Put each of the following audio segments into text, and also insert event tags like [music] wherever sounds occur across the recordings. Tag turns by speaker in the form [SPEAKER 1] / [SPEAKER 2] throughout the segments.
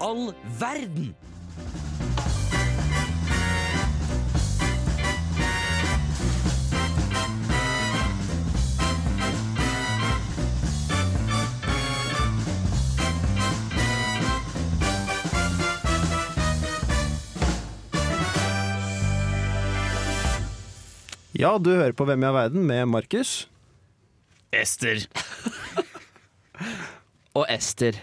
[SPEAKER 1] all verden?
[SPEAKER 2] Ja, du hører på Hvem i all verden med Markus.
[SPEAKER 3] Ester.
[SPEAKER 1] Og Ester.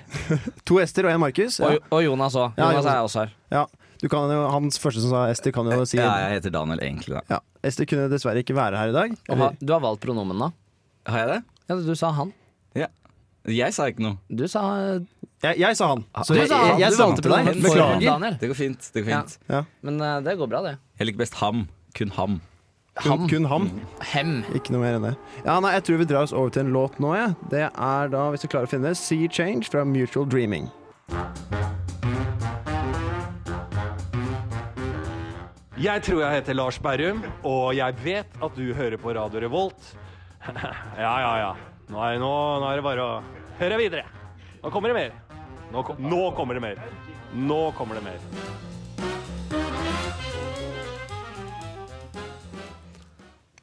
[SPEAKER 2] To Ester og en Markus. Ja.
[SPEAKER 1] Og, og Jonas òg.
[SPEAKER 2] Ja,
[SPEAKER 1] Jonas
[SPEAKER 2] Jonas.
[SPEAKER 1] er også her.
[SPEAKER 2] Ja. Du kan jo, hans første som sa Ester, kan jo si
[SPEAKER 3] Ja, jeg heter Daniel egentlig, da.
[SPEAKER 2] Ja. Ester kunne dessverre ikke være her i dag.
[SPEAKER 1] Og ha, du har valgt pronomen, da?
[SPEAKER 3] Har jeg det?
[SPEAKER 1] Ja, du sa han.
[SPEAKER 3] Ja. Jeg sa ikke noe.
[SPEAKER 1] Du sa
[SPEAKER 2] Jeg, jeg sa han. Så
[SPEAKER 1] Du
[SPEAKER 2] jeg,
[SPEAKER 1] sa han.
[SPEAKER 2] jeg, jeg
[SPEAKER 1] Du
[SPEAKER 2] valgte
[SPEAKER 1] valgte
[SPEAKER 2] deg.
[SPEAKER 1] han.
[SPEAKER 2] Beklager.
[SPEAKER 1] Daniel.
[SPEAKER 3] Det går fint. det går
[SPEAKER 1] Ja.
[SPEAKER 3] fint.
[SPEAKER 1] Men eh, det går bra, det.
[SPEAKER 3] Jeg liker best ham. Kun ham.
[SPEAKER 2] Kun, kun ham.
[SPEAKER 1] Hem.
[SPEAKER 2] Ikke noe mer enn det. Ja, nei, Jeg tror vi drar oss over til en låt nå. Ja. Det er da, hvis du klarer å finne det, Sea Change fra Mutual Dreaming.
[SPEAKER 4] Jeg tror jeg heter Lars Berrum, og jeg vet at du hører på Radio Revolt. [laughs] ja, ja, ja. Nå er, nå, nå er det bare å høre videre. Nå kommer det mer. Nå, kom, nå kommer det mer. Nå kommer det mer.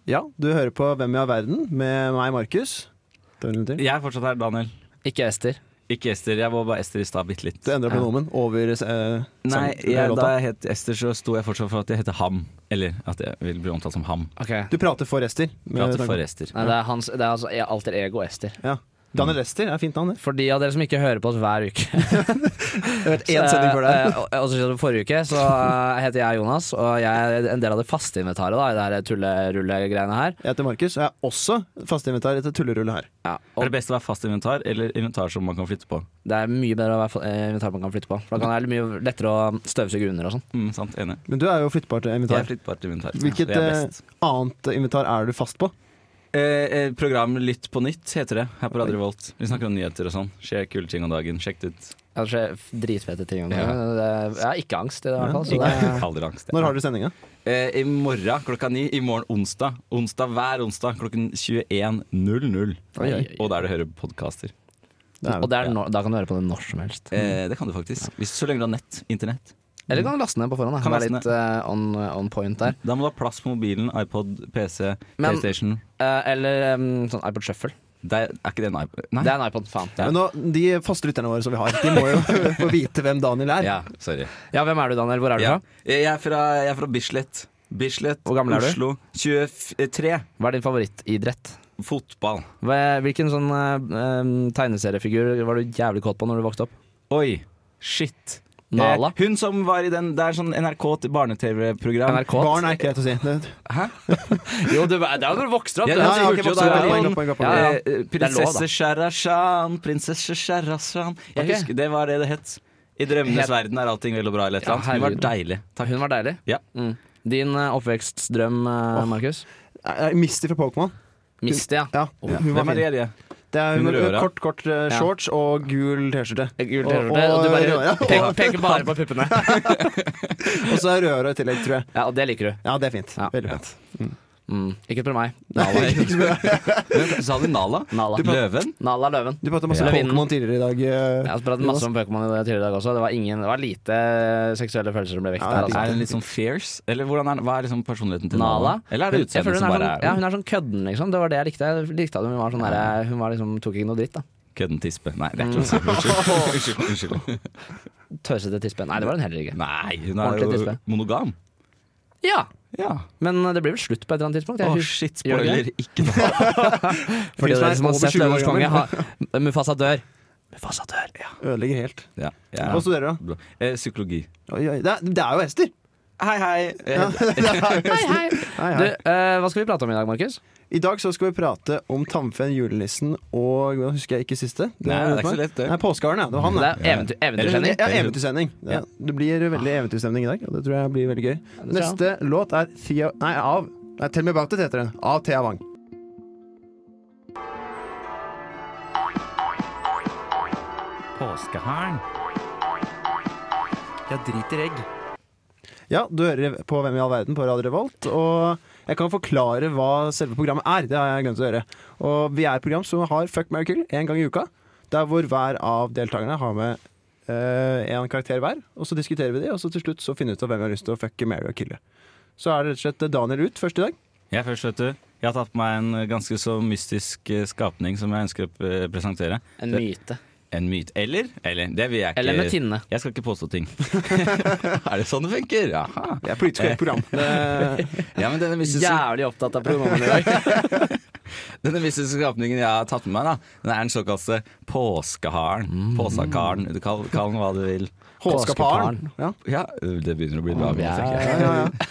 [SPEAKER 2] Ja, du hører på Hvem i all verden med meg, Markus. Det var en til.
[SPEAKER 3] Jeg er fortsatt her, Daniel.
[SPEAKER 1] Ikke Ester.
[SPEAKER 3] Ikke Ester. Jeg var bare Ester i stad, bitte litt.
[SPEAKER 2] Du endra pronomen over eh,
[SPEAKER 3] Nei,
[SPEAKER 2] sang-
[SPEAKER 3] jeg, da
[SPEAKER 2] låta.
[SPEAKER 3] jeg het Ester, så sto jeg fortsatt for at jeg heter Ham. Eller at jeg vil bli omtalt som Ham.
[SPEAKER 2] Du prater for Ester. med
[SPEAKER 3] Prater
[SPEAKER 2] tanke-
[SPEAKER 3] for Ester.
[SPEAKER 1] Nei, det er hans det er altså alter ego Ester.
[SPEAKER 2] Ja.
[SPEAKER 1] Mm.
[SPEAKER 2] Daniel Ester er fint navn, det.
[SPEAKER 1] For de av dere som ikke hører på oss hver uke
[SPEAKER 2] Én sending for deg.
[SPEAKER 1] Eh, og- og så skjedde det forrige uke, så eh, heter jeg Jonas, og jeg er en del av det faste inventaret da, i det her tullerullegreiene her.
[SPEAKER 2] Jeg heter Markus, og jeg er også fasteinvitar etter tullerullet her.
[SPEAKER 3] Er det best å være fast inventar eller inventar som man kan flytte på?
[SPEAKER 1] Det er mye bedre å være fa- eh, inventar man kan flytte på. For da kan det være mye lettere å støvsuge under og sånn.
[SPEAKER 3] Mm, sant, enig.
[SPEAKER 2] Men du er jo flyttbart
[SPEAKER 3] Jeg er
[SPEAKER 2] invitar.
[SPEAKER 3] flyttbart inventar.
[SPEAKER 2] Hvilket
[SPEAKER 3] det er best.
[SPEAKER 2] eh, annet invitar er du fast på?
[SPEAKER 3] Eh, eh, program Lytt på nytt heter det her på Radio Revolt. Vi snakker om nyheter og sånn. Skjer kule ting om dagen. Sjekk det ut.
[SPEAKER 1] Ja, Det skjer f- dritfete ting om
[SPEAKER 3] Ja.
[SPEAKER 1] dagen. Det- Jeg har ikke angst i Altså, det, i hvert fall. Så det,
[SPEAKER 3] Kalder angst.
[SPEAKER 2] Når har dere sendinga?
[SPEAKER 3] Eh, I morgen klokka ni. I morgen onsdag. Onsdag hver onsdag klokken 21.00.
[SPEAKER 1] Oi, oi, oi.
[SPEAKER 3] Og der du hører podkaster.
[SPEAKER 1] og det er når- da kan du høre på det når som helst.
[SPEAKER 3] Eh, det kan du faktisk. Hvis, så lenge du har nett. Internett.
[SPEAKER 1] Eller kan du laste ned på forhånd. Da.
[SPEAKER 3] Kan
[SPEAKER 1] Kan være
[SPEAKER 3] laste
[SPEAKER 1] litt eh, on, on point der.
[SPEAKER 3] Da må du ha plass på mobilen, iPod, PC,
[SPEAKER 1] Men-
[SPEAKER 3] PlayStation.
[SPEAKER 1] Eh, eller em, sånn iPod Shuffle.
[SPEAKER 3] Det er, er ikke det en iPod? Nei.
[SPEAKER 1] Det er en iPod, faen.
[SPEAKER 3] Ja.
[SPEAKER 2] Men nå, De faste lytterne våre som vi har, de må
[SPEAKER 1] [laughs]
[SPEAKER 2] jo få vite hvem Daniel er.
[SPEAKER 3] Ja, sorry.
[SPEAKER 1] Ja, hvem er du, Daniel? Hvor er du
[SPEAKER 3] Ja. Eh,
[SPEAKER 1] fra?
[SPEAKER 3] Jeg, er fra, jeg er fra Bislett. Bislett,
[SPEAKER 1] Hvor gammel er du?
[SPEAKER 3] Oslo. 23.
[SPEAKER 1] Hva er din favorittidrett?
[SPEAKER 3] Fotball.
[SPEAKER 1] Hva- Hvilken sånn eh, em, tegneseriefigur var du jævlig kåt på når du vokste opp?
[SPEAKER 3] Oi, shit.
[SPEAKER 1] Nala?
[SPEAKER 3] Eh, hun som var i den Det er sånn NRK til barne-TV-program.
[SPEAKER 1] NRK?
[SPEAKER 2] Barn er ikke greit å si. Det,
[SPEAKER 1] Jo, det er jo når du vokser opp.
[SPEAKER 3] Ja,
[SPEAKER 1] det
[SPEAKER 3] ja,
[SPEAKER 1] er jo
[SPEAKER 3] ok,
[SPEAKER 1] kult,
[SPEAKER 3] vokser
[SPEAKER 1] det er
[SPEAKER 3] opp,
[SPEAKER 1] jo-
[SPEAKER 3] ja,
[SPEAKER 2] poeng, poeng, poeng.
[SPEAKER 1] Ja, ja.
[SPEAKER 3] Eh, eh,
[SPEAKER 1] Det er lov, da.
[SPEAKER 3] prinsesse Sharashan, prinsesse Sharashan. Jeg
[SPEAKER 1] Ok.
[SPEAKER 3] husker Det var det det het. I drømmenes
[SPEAKER 1] Het-
[SPEAKER 3] verden er allting vel og bra eller et
[SPEAKER 1] Ja,
[SPEAKER 3] eller annet. Hun var deilig. Takk.
[SPEAKER 1] altså. Hun var deilig.
[SPEAKER 3] Ja.
[SPEAKER 1] Mm. Din eh, oppvekstdrøm, eh, Markus?
[SPEAKER 2] Eh, Misty fra Pokémon.
[SPEAKER 1] Misty, ja.
[SPEAKER 2] Ja, hun var
[SPEAKER 3] Hvem er
[SPEAKER 2] fin.
[SPEAKER 3] det? Elie?
[SPEAKER 2] Det er hun
[SPEAKER 3] Hun
[SPEAKER 2] med
[SPEAKER 3] røra.
[SPEAKER 2] kort, kort eh,
[SPEAKER 1] Ja.
[SPEAKER 2] shorts og gul T-skjorte.
[SPEAKER 1] Gul
[SPEAKER 2] Og-
[SPEAKER 1] T-skjorte. Og,
[SPEAKER 2] og-
[SPEAKER 1] du
[SPEAKER 2] ja,
[SPEAKER 1] bare
[SPEAKER 2] og-
[SPEAKER 1] peker, peker bare på puppene.
[SPEAKER 2] Og så er rødhåra i tillegg, tror jeg.
[SPEAKER 1] Ja, Og det liker du.
[SPEAKER 2] Ja, det er fint.
[SPEAKER 1] Ja.
[SPEAKER 2] Veldig fint.
[SPEAKER 1] Mm. Ikke spør meg.
[SPEAKER 3] [laughs]
[SPEAKER 1] [laughs]
[SPEAKER 3] Men Sa du Nala?
[SPEAKER 1] Nala.
[SPEAKER 3] Løven?
[SPEAKER 1] Nala Løven.
[SPEAKER 2] Du pratet masse
[SPEAKER 1] Ja.
[SPEAKER 2] Pokémon tidligere i dag. eh,
[SPEAKER 1] Jeg har pratet masse om Pokémon i det tidligere i dag også. Det var, ingen, det var lite seksuelle følelser som ble vekt
[SPEAKER 2] Ja,
[SPEAKER 1] her.
[SPEAKER 2] det
[SPEAKER 1] Altså.
[SPEAKER 3] Er hun litt sånn fierce? Eller hvordan er, hva er liksom personligheten til Nala?
[SPEAKER 1] Nala.
[SPEAKER 3] Eller er det
[SPEAKER 1] Hun- jeg føler
[SPEAKER 3] utseendet som
[SPEAKER 1] hun
[SPEAKER 3] bare
[SPEAKER 1] sånn,
[SPEAKER 3] er
[SPEAKER 1] Ja, hun er sånn kødden, liksom. Det var det jeg likte. Jeg likte at hun var sånn der, Hun var liksom, tok ikke noe dritt, da.
[SPEAKER 3] Kødden tispe. Nei, det er ikke noe
[SPEAKER 1] [laughs]
[SPEAKER 3] sånt. Unnskyld. unnskyld.
[SPEAKER 1] Tøsete tispe. Nei, det var hun heller ikke.
[SPEAKER 3] Nei, hun er jo
[SPEAKER 1] Ordentlig tispe.
[SPEAKER 3] monogam.
[SPEAKER 1] Ja,
[SPEAKER 3] Ja.
[SPEAKER 1] men eh, det blir vel slutt på et eller annet tidspunkt. Jeg
[SPEAKER 3] Å,
[SPEAKER 1] husker-
[SPEAKER 3] shit.
[SPEAKER 1] Gjør
[SPEAKER 3] Spoiler.
[SPEAKER 1] det
[SPEAKER 3] Ikke [laughs] noe.
[SPEAKER 1] Fordi
[SPEAKER 2] Hvis
[SPEAKER 1] dere
[SPEAKER 2] man er
[SPEAKER 1] som har
[SPEAKER 2] over
[SPEAKER 1] sett
[SPEAKER 2] 20 år
[SPEAKER 1] Løvens konge,
[SPEAKER 2] gammel.
[SPEAKER 1] har- [laughs] Mufasa dør. Mufasa dør.
[SPEAKER 2] Ødelegger helt.
[SPEAKER 3] Ja,
[SPEAKER 2] Hva
[SPEAKER 3] ja.
[SPEAKER 2] studerer du, da?
[SPEAKER 3] Eh, Psykologi.
[SPEAKER 2] Oi, oi. Det er, det er jo Ester!
[SPEAKER 3] Hei, hei. Eh,
[SPEAKER 2] Ja, det
[SPEAKER 3] [laughs]
[SPEAKER 2] er jo
[SPEAKER 1] Hei,
[SPEAKER 2] Ester.
[SPEAKER 1] hei.
[SPEAKER 2] Hei,
[SPEAKER 1] Du,
[SPEAKER 2] hei.
[SPEAKER 1] eh, hva skal vi prate om i dag, Markus?
[SPEAKER 2] I dag så skal vi prate om Tannfeen, julenissen og Nå husker jeg ikke siste.
[SPEAKER 3] Nei, det er ikke så lett, det.
[SPEAKER 2] Nei, Påskearen, ja. Det var han,
[SPEAKER 1] Det
[SPEAKER 2] ja.
[SPEAKER 1] er eventyr, eventyrsending.
[SPEAKER 2] Ja, eventyrsending. Ja. Det blir veldig eventyrstemning i dag, og det tror jeg blir veldig gøy.
[SPEAKER 1] det tror jeg.
[SPEAKER 2] Neste låt er Thea Nei, av Nei, Tell Me About It heter den. Av Thea Wang.
[SPEAKER 3] Påskeharen.
[SPEAKER 5] Jeg driter egg.
[SPEAKER 2] Ja, du hører på Hvem i all verden på Radio Revolt, og jeg kan forklare hva selve programmet er. Det har jeg glemt å gjøre. Og vi er et program som har Fuck, marry, kill én gang i uka. Der hvor hver av deltakerne har med eh, en karakter hver, og så diskuterer vi de, og så til slutt så finner vi ut av hvem vi har lyst til å fucke, marry og kille. Så er det rett og slett Daniel ut først i dag.
[SPEAKER 3] Jeg først, vet du. Jeg har tatt på meg en eh, ganske så mystisk eh, skapning som jeg ønsker å eh, presentere.
[SPEAKER 1] En myte.
[SPEAKER 3] En myt. Eller? Eller, det vil jeg ikke.
[SPEAKER 1] Eller med tinne.
[SPEAKER 3] Jeg skal ikke påstå [laughs] ting. er det sånn det funker? Jaha.
[SPEAKER 2] Det er politisk korrekt program. [laughs] Det,
[SPEAKER 3] Ja, men denne mystiske,
[SPEAKER 1] Jævlig opptatt av pronomen i dag.
[SPEAKER 3] denne mystiske skapningen jeg har tatt med meg, da, den er den såkalte påskeharen.
[SPEAKER 1] Mm.
[SPEAKER 3] Påsakaren. Du kall, kall den hva du vil.
[SPEAKER 2] Håskaparen. Ja.
[SPEAKER 3] Ja, det begynner å bli bra.
[SPEAKER 1] Ja.
[SPEAKER 3] tenker jeg.
[SPEAKER 2] Ja, ja, ja.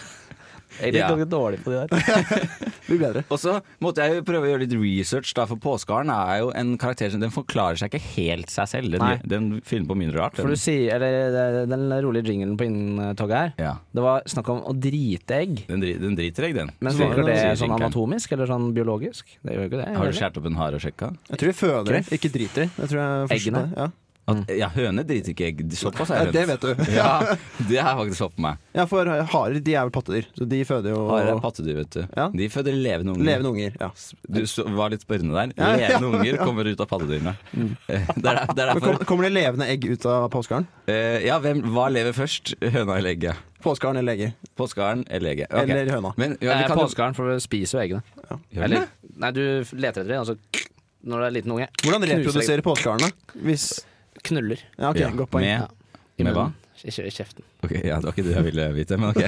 [SPEAKER 1] Jeg
[SPEAKER 3] Ja.
[SPEAKER 1] er litt dårlig på de der.
[SPEAKER 2] Blir bedre.
[SPEAKER 3] Og så måtte jeg jo prøve å gjøre litt research, da, for Påskeharen er jo en karakter som den forklarer seg ikke helt seg selv.
[SPEAKER 1] Nei.
[SPEAKER 3] Den, den finner på mye rart.
[SPEAKER 1] For
[SPEAKER 3] den.
[SPEAKER 1] du sier, eller det- den rolige jinglen på inntoget her,
[SPEAKER 3] Ja.
[SPEAKER 1] det var snakk om å drite egg.
[SPEAKER 3] Den, dri- den driter jeg, den.
[SPEAKER 1] Men
[SPEAKER 3] Sier-
[SPEAKER 1] virker det
[SPEAKER 3] sier
[SPEAKER 1] sånn
[SPEAKER 3] skinkeren.
[SPEAKER 1] anatomisk eller sånn biologisk? Det gjør jo ikke det.
[SPEAKER 3] Har
[SPEAKER 1] gjør
[SPEAKER 3] du
[SPEAKER 1] det?
[SPEAKER 3] skåret opp en hare og sjekka?
[SPEAKER 2] Jeg tror de føder det, ikke driter i. Det tror jeg er forskjell på
[SPEAKER 1] Eggene?
[SPEAKER 2] det. Ja.
[SPEAKER 3] At, ja, høne driter ikke egg. Såpass
[SPEAKER 2] Mm. Ja,
[SPEAKER 3] er
[SPEAKER 2] det vet du.
[SPEAKER 3] [laughs] Ja, det har jeg faktisk fått på meg.
[SPEAKER 2] Ja, for harer de er vel pattedyr, så de føder jo
[SPEAKER 3] Hare er pattedyr, vet du.
[SPEAKER 2] Ja.
[SPEAKER 3] De føder levende unger.
[SPEAKER 2] levende unger. Ja.
[SPEAKER 3] Du så- var litt spørrende der.
[SPEAKER 2] Ja, [laughs] ja. Mm.
[SPEAKER 3] Levende unger kommer ut av
[SPEAKER 2] [laughs]
[SPEAKER 3] pattedyrene. Eh, [laughs] Det er, der- det er
[SPEAKER 2] Men kom,
[SPEAKER 3] derfor.
[SPEAKER 2] kommer det levende egg ut av påskeharen?
[SPEAKER 3] Eh, Ja, hvem, hva lever først? Høna eller egget?
[SPEAKER 2] Påskeharen eller egget?
[SPEAKER 3] Påskeharen eller egget? Ok.
[SPEAKER 2] Eller høna?
[SPEAKER 3] Men, ja, vi
[SPEAKER 1] Eh,
[SPEAKER 3] kan jo-
[SPEAKER 1] Påskeharen, for du spiser jo eggene.
[SPEAKER 3] Gjør vi det?
[SPEAKER 1] Eller? Nei, du leter etter dem, og så når det er en liten unge,
[SPEAKER 2] Hvordan
[SPEAKER 1] Knuser
[SPEAKER 2] reproduserer påskeharen, da? Hvis
[SPEAKER 1] knuller
[SPEAKER 2] Ja, ok,
[SPEAKER 3] Ja,
[SPEAKER 2] godt poeng.
[SPEAKER 3] Med,
[SPEAKER 1] i
[SPEAKER 3] med hva?
[SPEAKER 1] munnen. I kjø- i kjeften.
[SPEAKER 3] Ok, ja, Det var ikke det jeg ville vite, men ok.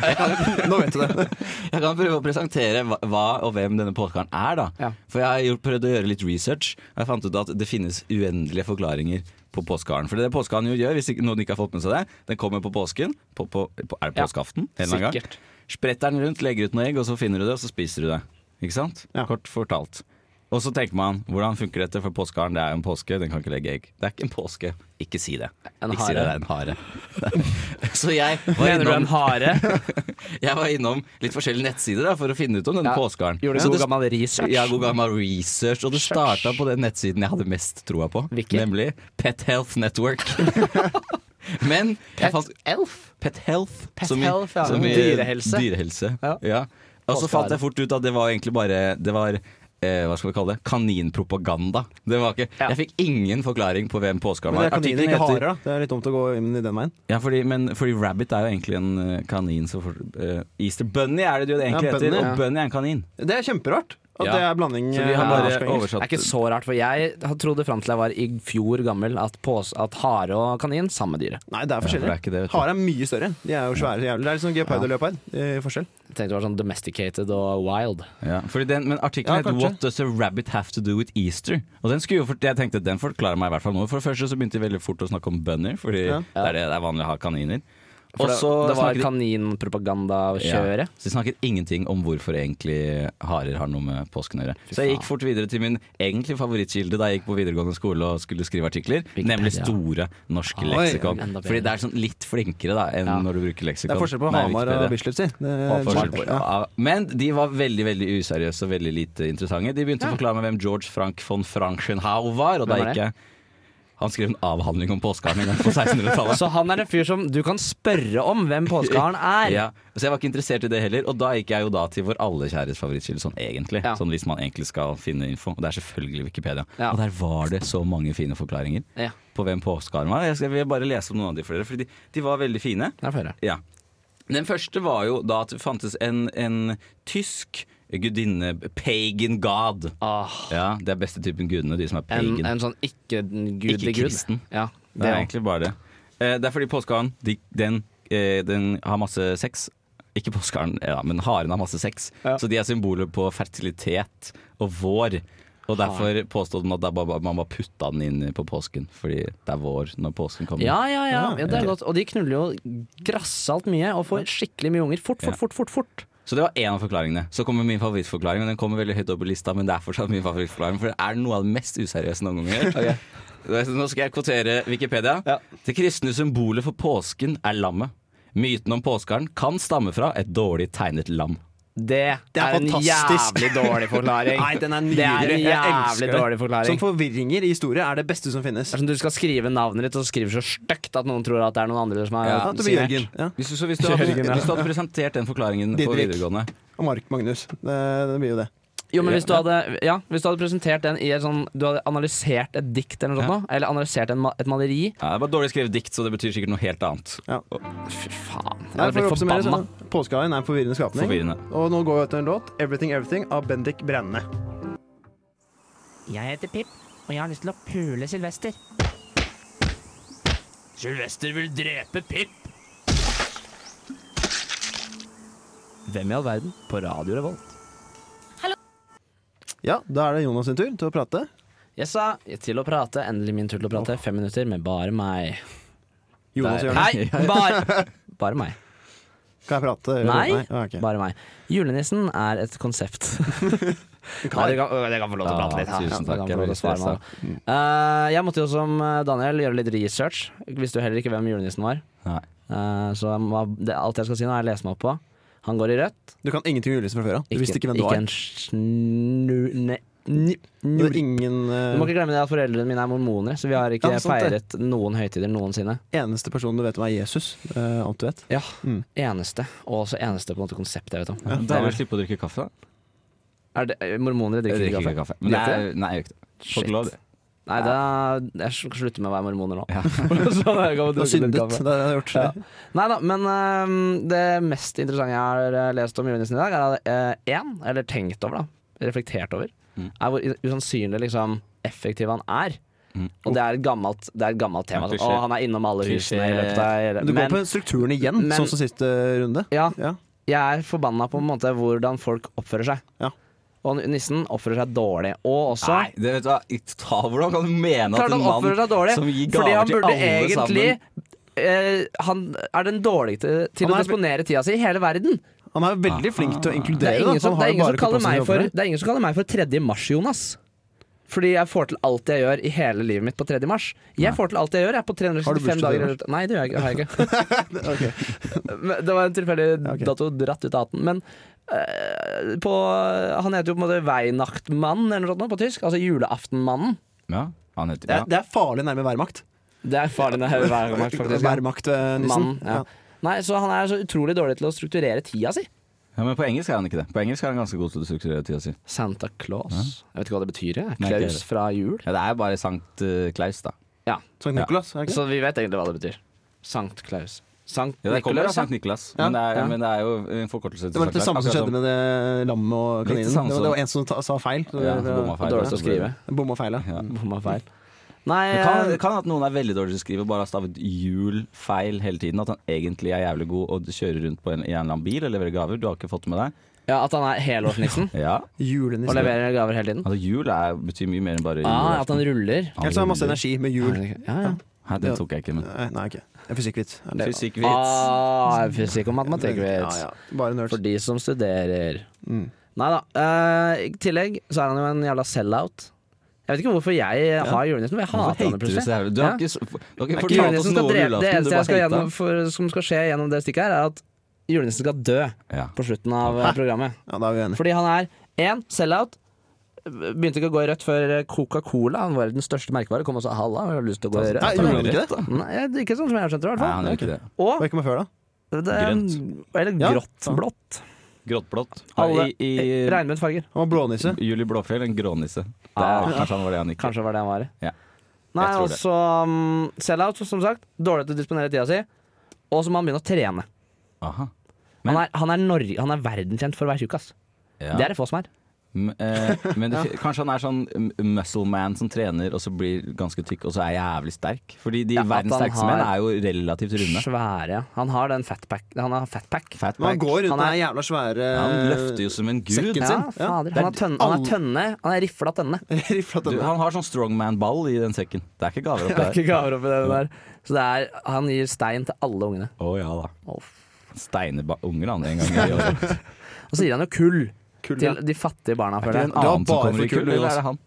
[SPEAKER 2] Nå vet du
[SPEAKER 3] [laughs]
[SPEAKER 2] det.
[SPEAKER 3] Jeg kan prøve å presentere hva, hva og hvem denne påskeharen er, da.
[SPEAKER 1] Ja.
[SPEAKER 3] For jeg har gjort, prøvd å gjøre litt research, og jeg fant ut at det finnes uendelige forklaringer på påskeharen. For det er det påskeharen jo gjør, hvis ikke, noen ikke har fått med seg det, den kommer på påsken på, på, på, Er det
[SPEAKER 1] Ja,
[SPEAKER 3] påskeaften? en eller annen gang?
[SPEAKER 1] Sikkert.
[SPEAKER 3] Spretter den rundt, legger ut noen egg, og så finner du det, og så spiser du det. Ikke sant?
[SPEAKER 2] Ja.
[SPEAKER 3] Kort fortalt. Og så tenker man hvordan funker dette, for påskeharen det er jo en påske, den kan ikke legge egg. Det er ikke en påske. Ikke si det.
[SPEAKER 1] En
[SPEAKER 3] ikke si det,
[SPEAKER 1] hare.
[SPEAKER 3] det er en hare. [laughs] så jeg var
[SPEAKER 1] Mener du en
[SPEAKER 3] innom, [laughs]
[SPEAKER 1] hare?
[SPEAKER 3] jeg var innom litt forskjellige nettsider da, for å finne ut om denne
[SPEAKER 1] Ja,
[SPEAKER 3] påskeharen.
[SPEAKER 1] Gjorde
[SPEAKER 3] Så
[SPEAKER 1] god
[SPEAKER 3] det-
[SPEAKER 1] gammel research?
[SPEAKER 3] ja, god gammel research. Og det starta på den nettsiden jeg hadde mest troa på.
[SPEAKER 1] Hvilken?
[SPEAKER 3] Nemlig Pet Health
[SPEAKER 1] [laughs]
[SPEAKER 3] Network. Men jeg
[SPEAKER 1] Pet
[SPEAKER 3] fant
[SPEAKER 1] elf?
[SPEAKER 3] Pet Health.
[SPEAKER 1] Pet
[SPEAKER 3] som i-
[SPEAKER 1] Health, ja.
[SPEAKER 3] som i
[SPEAKER 1] Dyrehelse.
[SPEAKER 3] dyrehelse.
[SPEAKER 1] Ja.
[SPEAKER 3] Ja. Og så
[SPEAKER 1] Påskehare.
[SPEAKER 3] fant jeg fort ut at det var egentlig bare Det var eh, hva skal vi kalle det? Kaninpropaganda. Det var ikke,
[SPEAKER 1] Ja.
[SPEAKER 3] Jeg fikk ingen forklaring på hvem påskeharen
[SPEAKER 2] Men
[SPEAKER 3] var.
[SPEAKER 2] det er kaniner,
[SPEAKER 3] Artikkelen
[SPEAKER 2] ikke
[SPEAKER 3] heter-
[SPEAKER 2] harer. da Det er litt dumt å gå inn i den veien.
[SPEAKER 3] ja, fordi, men, fordi rabbit er jo egentlig en eh, kanin som for, eh, Easter bunny er det jo det egentlig
[SPEAKER 2] Ja, bunny,
[SPEAKER 3] heter.
[SPEAKER 2] ja.
[SPEAKER 3] Og bunny er en kanin.
[SPEAKER 2] Det er kjemperart at
[SPEAKER 3] Ja.
[SPEAKER 2] det er blanding
[SPEAKER 3] Så vi har
[SPEAKER 2] eh, norsk
[SPEAKER 3] bare
[SPEAKER 2] og engelsk.
[SPEAKER 1] Det
[SPEAKER 3] oversatt
[SPEAKER 1] er ikke så rart, for jeg trodde fram til jeg var i fjor gammel at, pås, at hare og kanin, samme dyret.
[SPEAKER 2] Nei, det er
[SPEAKER 3] for
[SPEAKER 2] forskjellig.
[SPEAKER 3] det er ikke det, vet du.
[SPEAKER 2] Hare er mye større. De er jo svære. Jævlig. Det er litt sånn geopard og leopard. eh, forskjell.
[SPEAKER 1] Jeg tenkte det var sånn domesticated og wild.
[SPEAKER 3] Ja, fordi den, men artikkelen
[SPEAKER 2] Ja,
[SPEAKER 3] het
[SPEAKER 2] kanskje.
[SPEAKER 3] 'What does a rabbit have to do with Easter?' Og den skulle jo, for, jeg tenkte den forklarer meg i hvert fall noe. For det første så begynte de veldig fort å snakke om bønder, fordi
[SPEAKER 2] Ja.
[SPEAKER 3] det, er det, det er vanlig å ha kaniner.
[SPEAKER 1] For
[SPEAKER 3] Og
[SPEAKER 1] det,
[SPEAKER 3] så
[SPEAKER 1] det var
[SPEAKER 3] snakket de-
[SPEAKER 1] kaninpropagandakjøret.
[SPEAKER 3] så de snakket ingenting om hvorfor egentlig harer har noe med påsken å gjøre. Så jeg gikk fort videre til min egentlig favorittkilde da jeg gikk på videregående skole og skulle skrive artikler,
[SPEAKER 1] Wikipedia.
[SPEAKER 3] nemlig Store norske
[SPEAKER 1] Oi,
[SPEAKER 3] leksikon.
[SPEAKER 1] enda bedre.
[SPEAKER 3] Fordi det er sånn litt flinkere da enn
[SPEAKER 1] Ja.
[SPEAKER 3] når du bruker leksikon.
[SPEAKER 2] Det er forskjell på
[SPEAKER 3] Nei,
[SPEAKER 2] Hamar og
[SPEAKER 3] Wikipedia.
[SPEAKER 2] Bislett, si. Det
[SPEAKER 3] Og
[SPEAKER 2] er
[SPEAKER 3] forskjell på-
[SPEAKER 2] smart. Ja.
[SPEAKER 3] ja. Men de var veldig veldig useriøse og veldig lite interessante. De begynte å forklare meg hvem George Frank von Frankenhau var. Og da
[SPEAKER 1] Hvem er
[SPEAKER 3] gikk jeg Han skrev en avhandling om påskeharen en gang på [laughs]
[SPEAKER 2] [laughs]
[SPEAKER 3] 1600-tallet.
[SPEAKER 1] Så han er en fyr som du kan spørre om hvem [laughs] påskeharen er.
[SPEAKER 3] Ja, så jeg var ikke interessert i det heller, og da gikk jeg jo da til vår alle kjæres favorittkilde, sånn egentlig.
[SPEAKER 1] Ja.
[SPEAKER 3] Sånn hvis man egentlig skal finne info. Og det er selvfølgelig Wikipedia.
[SPEAKER 1] Ja.
[SPEAKER 3] Og der var det så mange fine forklaringer
[SPEAKER 1] Ja,
[SPEAKER 3] på hvem påskeharen var. Jeg skal- vil bare lese om noen av de for dere, for de, de var veldig fine.
[SPEAKER 1] det får jeg høre.
[SPEAKER 3] Ja. Den første var jo da at det fantes en, en tysk gudinne, pagan god.
[SPEAKER 1] Ah,
[SPEAKER 3] Ja, Det er beste typen gudene, de som er
[SPEAKER 1] en,
[SPEAKER 3] pagan.
[SPEAKER 1] en sånn ikke-gudelig
[SPEAKER 3] Ikke kristen.
[SPEAKER 1] Ja,
[SPEAKER 3] det
[SPEAKER 1] det
[SPEAKER 3] er
[SPEAKER 1] òg.
[SPEAKER 3] egentlig bare det. Eh, det er fordi påskeharen de, den, eh, den har masse sex. Ikke påskeharen, ja, men haren har masse sex.
[SPEAKER 1] Ja.
[SPEAKER 3] Så de er symboler på fertilitet og vår. Og derfor påstod man at det er bare- man bare putta den inn på påsken, fordi det er vår når påsken kommer.
[SPEAKER 1] Ja, ja, ja, ja, det er godt. Og de knuller jo grassalt mye og får skikkelig mye unger. Fort,
[SPEAKER 3] Ja.
[SPEAKER 1] fort, fort, fort. fort.
[SPEAKER 3] Så det var én av forklaringene. Så kommer min favorittforklaring, og den kommer veldig høyt opp i lista, men det er fortsatt min favorittforklaring, for det er noe av det mest useriøse noen gang [laughs] jeg har gjort. sånn, Nå skal jeg kvotere Wikipedia.
[SPEAKER 1] Ja.
[SPEAKER 3] Det kristne symbolet for påsken er lammet. Myten om påskeharen kan stamme fra et dårlig tegnet lam.
[SPEAKER 1] Det,
[SPEAKER 2] Det er
[SPEAKER 1] er, en
[SPEAKER 2] fantastisk.
[SPEAKER 1] jævlig dårlig [laughs] forklaring.
[SPEAKER 2] Nei, den er nydelig.
[SPEAKER 1] Det er en
[SPEAKER 2] Jeg
[SPEAKER 1] jævlig
[SPEAKER 2] elsker det.
[SPEAKER 1] dårlig forklaring.
[SPEAKER 2] Som forvirringer i historie er det beste som finnes.
[SPEAKER 1] Det er som du skal skrive navnet ditt, og så skriver du så stygt at noen tror at det er noen andre som har
[SPEAKER 3] Ja,
[SPEAKER 2] Ja, det blir
[SPEAKER 1] signert.
[SPEAKER 2] Jørgen. Ja.
[SPEAKER 3] Hvis du, så hvis du, hadde, hvis du hadde presentert den forklaringen på
[SPEAKER 2] Didrik.
[SPEAKER 3] videregående
[SPEAKER 2] Og Mark Magnus. Det, det blir jo det.
[SPEAKER 1] Jo, men hvis du hadde, ja, hvis du hadde presentert den i et sånn Du hadde analysert et dikt eller noe sånt, nå, eller analysert en, ma- et maleri
[SPEAKER 3] Ja, det er bare dårlig skrevet dikt, så det betyr sikkert noe helt annet.
[SPEAKER 1] Fy faen. Jeg
[SPEAKER 2] Nei,
[SPEAKER 1] hadde
[SPEAKER 2] for å
[SPEAKER 1] blitt
[SPEAKER 2] oppsummere,
[SPEAKER 1] forbanna.
[SPEAKER 2] så Påskehaien er en forvirrende skapning.
[SPEAKER 3] Forvirrende.
[SPEAKER 2] Og nå går vi etter en låt, 'Everything Everything' av Bendik Brenne.
[SPEAKER 5] Jeg heter Pip, og jeg har lyst til å pule Sylvester.
[SPEAKER 6] Sylvester vil drepe Pip.
[SPEAKER 1] Hvem i all verden? På Radio Revolt.
[SPEAKER 2] Ja, da er det Jonas sin tur til å prate.
[SPEAKER 1] Jeg sa til å prate. Endelig min tur til å prate. Fem minutter med bare meg.
[SPEAKER 2] Jonas
[SPEAKER 1] Der.
[SPEAKER 2] gjør det.
[SPEAKER 1] Nei, bare, bare meg.
[SPEAKER 2] Kan jeg prate?
[SPEAKER 1] Nei,
[SPEAKER 2] Ah, ok.
[SPEAKER 1] bare meg. Julenissen er et konsept. Nei, det kan, det kan få lov til å prate litt.
[SPEAKER 3] Ah, tusen
[SPEAKER 1] det kan
[SPEAKER 3] takk, jeg
[SPEAKER 1] få lov
[SPEAKER 3] blir
[SPEAKER 1] til å svare
[SPEAKER 3] stressa.
[SPEAKER 1] meg. Eh, jeg måtte jo som eh, Daniel gjøre litt research. Visste jo heller ikke hvem julenissen var.
[SPEAKER 3] Nei.
[SPEAKER 1] Eh, så jeg må- det, alt jeg skal si nå, er lese meg opp på. Han går i rødt.
[SPEAKER 2] Du kan ingenting om julenissen fra før av. Du visste ikke hvem du var.
[SPEAKER 1] en snu... Ne, ni-
[SPEAKER 2] Du
[SPEAKER 1] njur.
[SPEAKER 2] hadde ingen
[SPEAKER 1] Du
[SPEAKER 2] eh,
[SPEAKER 1] må ikke glemme det at foreldrene mine er mormoner, så vi har ikke
[SPEAKER 2] Ja, sant det.
[SPEAKER 1] feiret noen høytider noensinne.
[SPEAKER 2] eneste person du vet om er Jesus. eh, alt du vet.
[SPEAKER 1] Ja,
[SPEAKER 2] Mm.
[SPEAKER 1] Eneste, og også eneste på en måte konsept jeg vet om.
[SPEAKER 3] Da vil jeg slippe å drikke kaffe. da.
[SPEAKER 1] Er det, mormonere
[SPEAKER 3] Jeg drikker
[SPEAKER 1] drikker ikke kaffe.
[SPEAKER 3] ikke kaffe. Men det
[SPEAKER 1] Gjør
[SPEAKER 3] er, nei, jeg gjør ikke det. Får
[SPEAKER 1] Shit.
[SPEAKER 3] ikke lov.
[SPEAKER 1] Nei, da, jeg sl- slutter med å være mormoner nå. [laughs] Sånn
[SPEAKER 3] Ja.
[SPEAKER 2] Du har syndet. [laughs] Det har jeg gjort.
[SPEAKER 1] Ja. Nei da, men øhm, det mest interessante jeg har øh, lest om julenissen i dag, er én, eller tenkt over, da, reflektert over,
[SPEAKER 3] Mm.
[SPEAKER 1] er hvor i- usannsynlig liksom, effektiv han er.
[SPEAKER 3] Mm.
[SPEAKER 1] Og det er et gammelt, det er et gammelt tema.
[SPEAKER 3] Ja,
[SPEAKER 1] Sånn,
[SPEAKER 3] klisjé.
[SPEAKER 1] å, han er innom alle husene i
[SPEAKER 3] Klisjé.
[SPEAKER 1] løpet av hele
[SPEAKER 2] Men Du går
[SPEAKER 1] Men
[SPEAKER 2] på strukturen igjen,
[SPEAKER 1] men-
[SPEAKER 2] sånn som siste runde.
[SPEAKER 1] ja,
[SPEAKER 2] Ja.
[SPEAKER 1] jeg er forbanna på en måte hvordan folk oppfører seg.
[SPEAKER 2] Ja.
[SPEAKER 1] Og nissen oppfører seg dårlig. Og også
[SPEAKER 3] Nei, det vet du hva. i ta- Hvordan kan du mene
[SPEAKER 1] Klart
[SPEAKER 3] at
[SPEAKER 1] han
[SPEAKER 3] en
[SPEAKER 1] oppfører seg dårlig,
[SPEAKER 3] mann som gir
[SPEAKER 1] fordi
[SPEAKER 3] gaver
[SPEAKER 1] han
[SPEAKER 3] til
[SPEAKER 1] burde
[SPEAKER 3] alle
[SPEAKER 1] egentlig
[SPEAKER 3] sammen
[SPEAKER 1] eh, Han er den dårligste til
[SPEAKER 2] Han
[SPEAKER 1] å
[SPEAKER 2] er-
[SPEAKER 1] disponere tida si i hele verden.
[SPEAKER 2] Han er veldig flink til å
[SPEAKER 1] Ah. Det er
[SPEAKER 2] inkludere.
[SPEAKER 1] ingen
[SPEAKER 2] da.
[SPEAKER 1] som,
[SPEAKER 2] Han har
[SPEAKER 1] det er
[SPEAKER 2] jo bare
[SPEAKER 1] ingen som, kaller, meg
[SPEAKER 2] kompetanse
[SPEAKER 1] for,
[SPEAKER 2] til å jobbe
[SPEAKER 1] det er ingen som kaller meg for 3. mars, Jonas. Fordi jeg får til alt jeg gjør i hele livet mitt på 3. mars. Jeg får til alt jeg gjør. Jeg er på
[SPEAKER 2] Har du
[SPEAKER 1] 365
[SPEAKER 2] bursdag
[SPEAKER 1] dager
[SPEAKER 2] i
[SPEAKER 1] i- Nei, det gjør jeg ikke. Det har jeg ikke. Men det var en tilfeldig
[SPEAKER 2] ok.
[SPEAKER 1] dato dratt ut av hatten. Men eh, på, han heter jo på en måte Weihnachtmann eller noe sånt nå på tysk. Altså julaftenmannen.
[SPEAKER 3] Ja, han heter
[SPEAKER 2] det,
[SPEAKER 3] ja.
[SPEAKER 2] er, det er farlig nærme værmakt.
[SPEAKER 1] Det er faren din, Weihnacht, faktisk. ja.
[SPEAKER 2] Værmakt, eh, nissen.
[SPEAKER 1] Mann, ja. Nei, så han er så utrolig dårlig til å strukturere tida si.
[SPEAKER 3] ja, Men på engelsk er han ikke det. På engelsk er han ganske god til å strukturere tida si.
[SPEAKER 1] Santa Claus. Jeg vet ikke hva det betyr.
[SPEAKER 3] Nei,
[SPEAKER 1] jeg.
[SPEAKER 3] ikke
[SPEAKER 1] Klaus
[SPEAKER 3] heller.
[SPEAKER 1] fra jul.
[SPEAKER 3] Ja, det er bare Sankt eh, Klaus, da.
[SPEAKER 1] Ja,
[SPEAKER 2] Sankt Nikolas. er det ikke?
[SPEAKER 1] Så vi vet egentlig hva det betyr. Sankt Klaus. Sankt
[SPEAKER 3] Ja, det kommer av
[SPEAKER 1] Nikolaus.
[SPEAKER 3] Sankt
[SPEAKER 1] ja.
[SPEAKER 3] Nikolas,
[SPEAKER 2] Ja,
[SPEAKER 3] men, det er,
[SPEAKER 1] ja.
[SPEAKER 3] men det er jo en forkortelse
[SPEAKER 2] Det
[SPEAKER 3] til
[SPEAKER 2] var litt det samme som skjedde med det lammet og
[SPEAKER 3] Litt det
[SPEAKER 2] kaninen. Det
[SPEAKER 3] samme
[SPEAKER 2] var,
[SPEAKER 3] som-
[SPEAKER 2] det var en som ta, sa feil.
[SPEAKER 3] Ja, bomma feil.
[SPEAKER 1] Dårlig til å skrive.
[SPEAKER 2] Bomma feil, ja. Mm.
[SPEAKER 3] Ja.
[SPEAKER 1] Bomma feil. Nei,
[SPEAKER 3] Det kan,
[SPEAKER 1] eh,
[SPEAKER 3] det kan at noen er veldig dårlig til å skrive, bare har stavet jul feil hele tiden. At han egentlig er jævlig god og kjører rundt på en, i en eller annen bil og leverer gaver. Du har ikke fått det med deg.
[SPEAKER 1] ja, At han er
[SPEAKER 3] [laughs]
[SPEAKER 1] helårsnissen
[SPEAKER 3] Ja,
[SPEAKER 1] og
[SPEAKER 2] Julenissen.
[SPEAKER 1] leverer gaver hele tiden?
[SPEAKER 3] altså Jul er, betyr mye mer enn bare jul.
[SPEAKER 1] Ah, at han ruller?
[SPEAKER 2] Helt sånn masse energi med jul.
[SPEAKER 1] Ja, Ah, ja.
[SPEAKER 3] Hæ, den tok jeg ikke med.
[SPEAKER 2] Nei, nei, ok. En fysikkvits. Eller-
[SPEAKER 3] Fysikkvits.
[SPEAKER 1] Ah, fysikk og matematikk.
[SPEAKER 2] Ja,
[SPEAKER 1] vet.
[SPEAKER 2] ja. Bare nerds.
[SPEAKER 1] For de som studerer.
[SPEAKER 2] Mm.
[SPEAKER 1] Nei da. eh, I tillegg så er han jo en jævla sell-out. Jeg vet ikke hvorfor jeg har julenissen, men jeg
[SPEAKER 3] Hvorfor
[SPEAKER 1] hater han jo
[SPEAKER 3] hater du så
[SPEAKER 1] plutselig.
[SPEAKER 3] jævlig? Du har
[SPEAKER 1] Ja.
[SPEAKER 3] ikke, s- du har ikke
[SPEAKER 1] Ikke
[SPEAKER 3] fortalt oss
[SPEAKER 1] julenissen skal
[SPEAKER 3] noe om
[SPEAKER 1] drepe- Det
[SPEAKER 3] julaften, du
[SPEAKER 1] eneste jeg
[SPEAKER 3] bare
[SPEAKER 1] skal
[SPEAKER 3] hata.
[SPEAKER 1] gjennom, for, som skal skje gjennom det stikket her, er at julenissen skal dø
[SPEAKER 3] Ja.
[SPEAKER 1] på slutten av eh, programmet.
[SPEAKER 2] Ja, da er vi enige.
[SPEAKER 1] Fordi han er én sell-out. Begynte ikke å gå i rødt før Coca-Cola, han var den største merkevare, kom og sa halla. Jeg har lyst til å gå i
[SPEAKER 2] Nei,
[SPEAKER 1] rødt.
[SPEAKER 2] gjorde han ikke det?
[SPEAKER 1] Nei, det er ikke sånn som jeg har skjønt det, i hvert
[SPEAKER 3] Nei, han
[SPEAKER 1] fall.
[SPEAKER 3] gjør ikke det.
[SPEAKER 2] Hva
[SPEAKER 1] Og
[SPEAKER 2] gikk med før, da?
[SPEAKER 1] det er, Eller
[SPEAKER 2] Ja.
[SPEAKER 1] grått. Blått.
[SPEAKER 3] Gråttblått.
[SPEAKER 1] Alle- eh,
[SPEAKER 3] I, i
[SPEAKER 1] Regnbuet farger.
[SPEAKER 2] Han var blånisse.
[SPEAKER 3] Julie Blåfjell, en grånisse. Det
[SPEAKER 1] Ah.
[SPEAKER 3] er, kanskje han var det han ikke.
[SPEAKER 1] Kanskje var det han var i.
[SPEAKER 3] Ja.
[SPEAKER 1] Nei,
[SPEAKER 3] tror
[SPEAKER 1] og
[SPEAKER 3] det.
[SPEAKER 1] så um, sell-out, som sagt. Dårlig til å disponere tida si. Og så må han begynne å trene.
[SPEAKER 3] Aha.
[SPEAKER 1] Han er, han er, Norge, han er verdenskjent for å være tjukk, ass.
[SPEAKER 3] Ja.
[SPEAKER 1] Det er det få som er.
[SPEAKER 3] M- eh, Men det, kanskje han er sånn m- muscle man som trener og så blir ganske tykk og så er jævlig sterk. Fordi de
[SPEAKER 1] Ja, at
[SPEAKER 3] verdens
[SPEAKER 1] han
[SPEAKER 3] sterkeste menn er
[SPEAKER 1] har-
[SPEAKER 3] jo relativt runde.
[SPEAKER 1] Svære. Han har den fatpack. Han har fatpack.
[SPEAKER 2] Men han går rundt
[SPEAKER 1] Han
[SPEAKER 2] med
[SPEAKER 1] er-
[SPEAKER 2] den jævla svære
[SPEAKER 3] Han
[SPEAKER 1] eh,
[SPEAKER 3] løfter jo som en gud.
[SPEAKER 2] sekken
[SPEAKER 1] Ja,
[SPEAKER 2] sin.
[SPEAKER 1] fader.
[SPEAKER 2] Det er
[SPEAKER 1] Han er tønne. Han
[SPEAKER 2] alle-
[SPEAKER 1] er, tønne. Han er rifla tønne.
[SPEAKER 2] [laughs] Rifla
[SPEAKER 3] Du,
[SPEAKER 2] tønne.
[SPEAKER 3] han har sånn strongman-ball i den sekken. Det er ikke
[SPEAKER 1] [laughs]
[SPEAKER 3] gaver
[SPEAKER 1] Det er
[SPEAKER 3] oppi der.
[SPEAKER 1] ikke gaver oppi det der. Så det er, han gir stein til alle ungene.
[SPEAKER 3] Å ja da.
[SPEAKER 1] Å,
[SPEAKER 3] Steiner ba- unger han en
[SPEAKER 1] [laughs]
[SPEAKER 3] gang i året.
[SPEAKER 1] Og så gir han jo kull
[SPEAKER 2] Kull, ja.
[SPEAKER 1] til de fattige barna,
[SPEAKER 3] Er det
[SPEAKER 1] føler
[SPEAKER 3] en
[SPEAKER 1] jeg. Ah,
[SPEAKER 2] har
[SPEAKER 3] annen som
[SPEAKER 2] bare
[SPEAKER 3] kommer i
[SPEAKER 2] fått
[SPEAKER 3] kull, altså.
[SPEAKER 2] kull,
[SPEAKER 3] eller
[SPEAKER 2] Jonas.
[SPEAKER 3] er det han?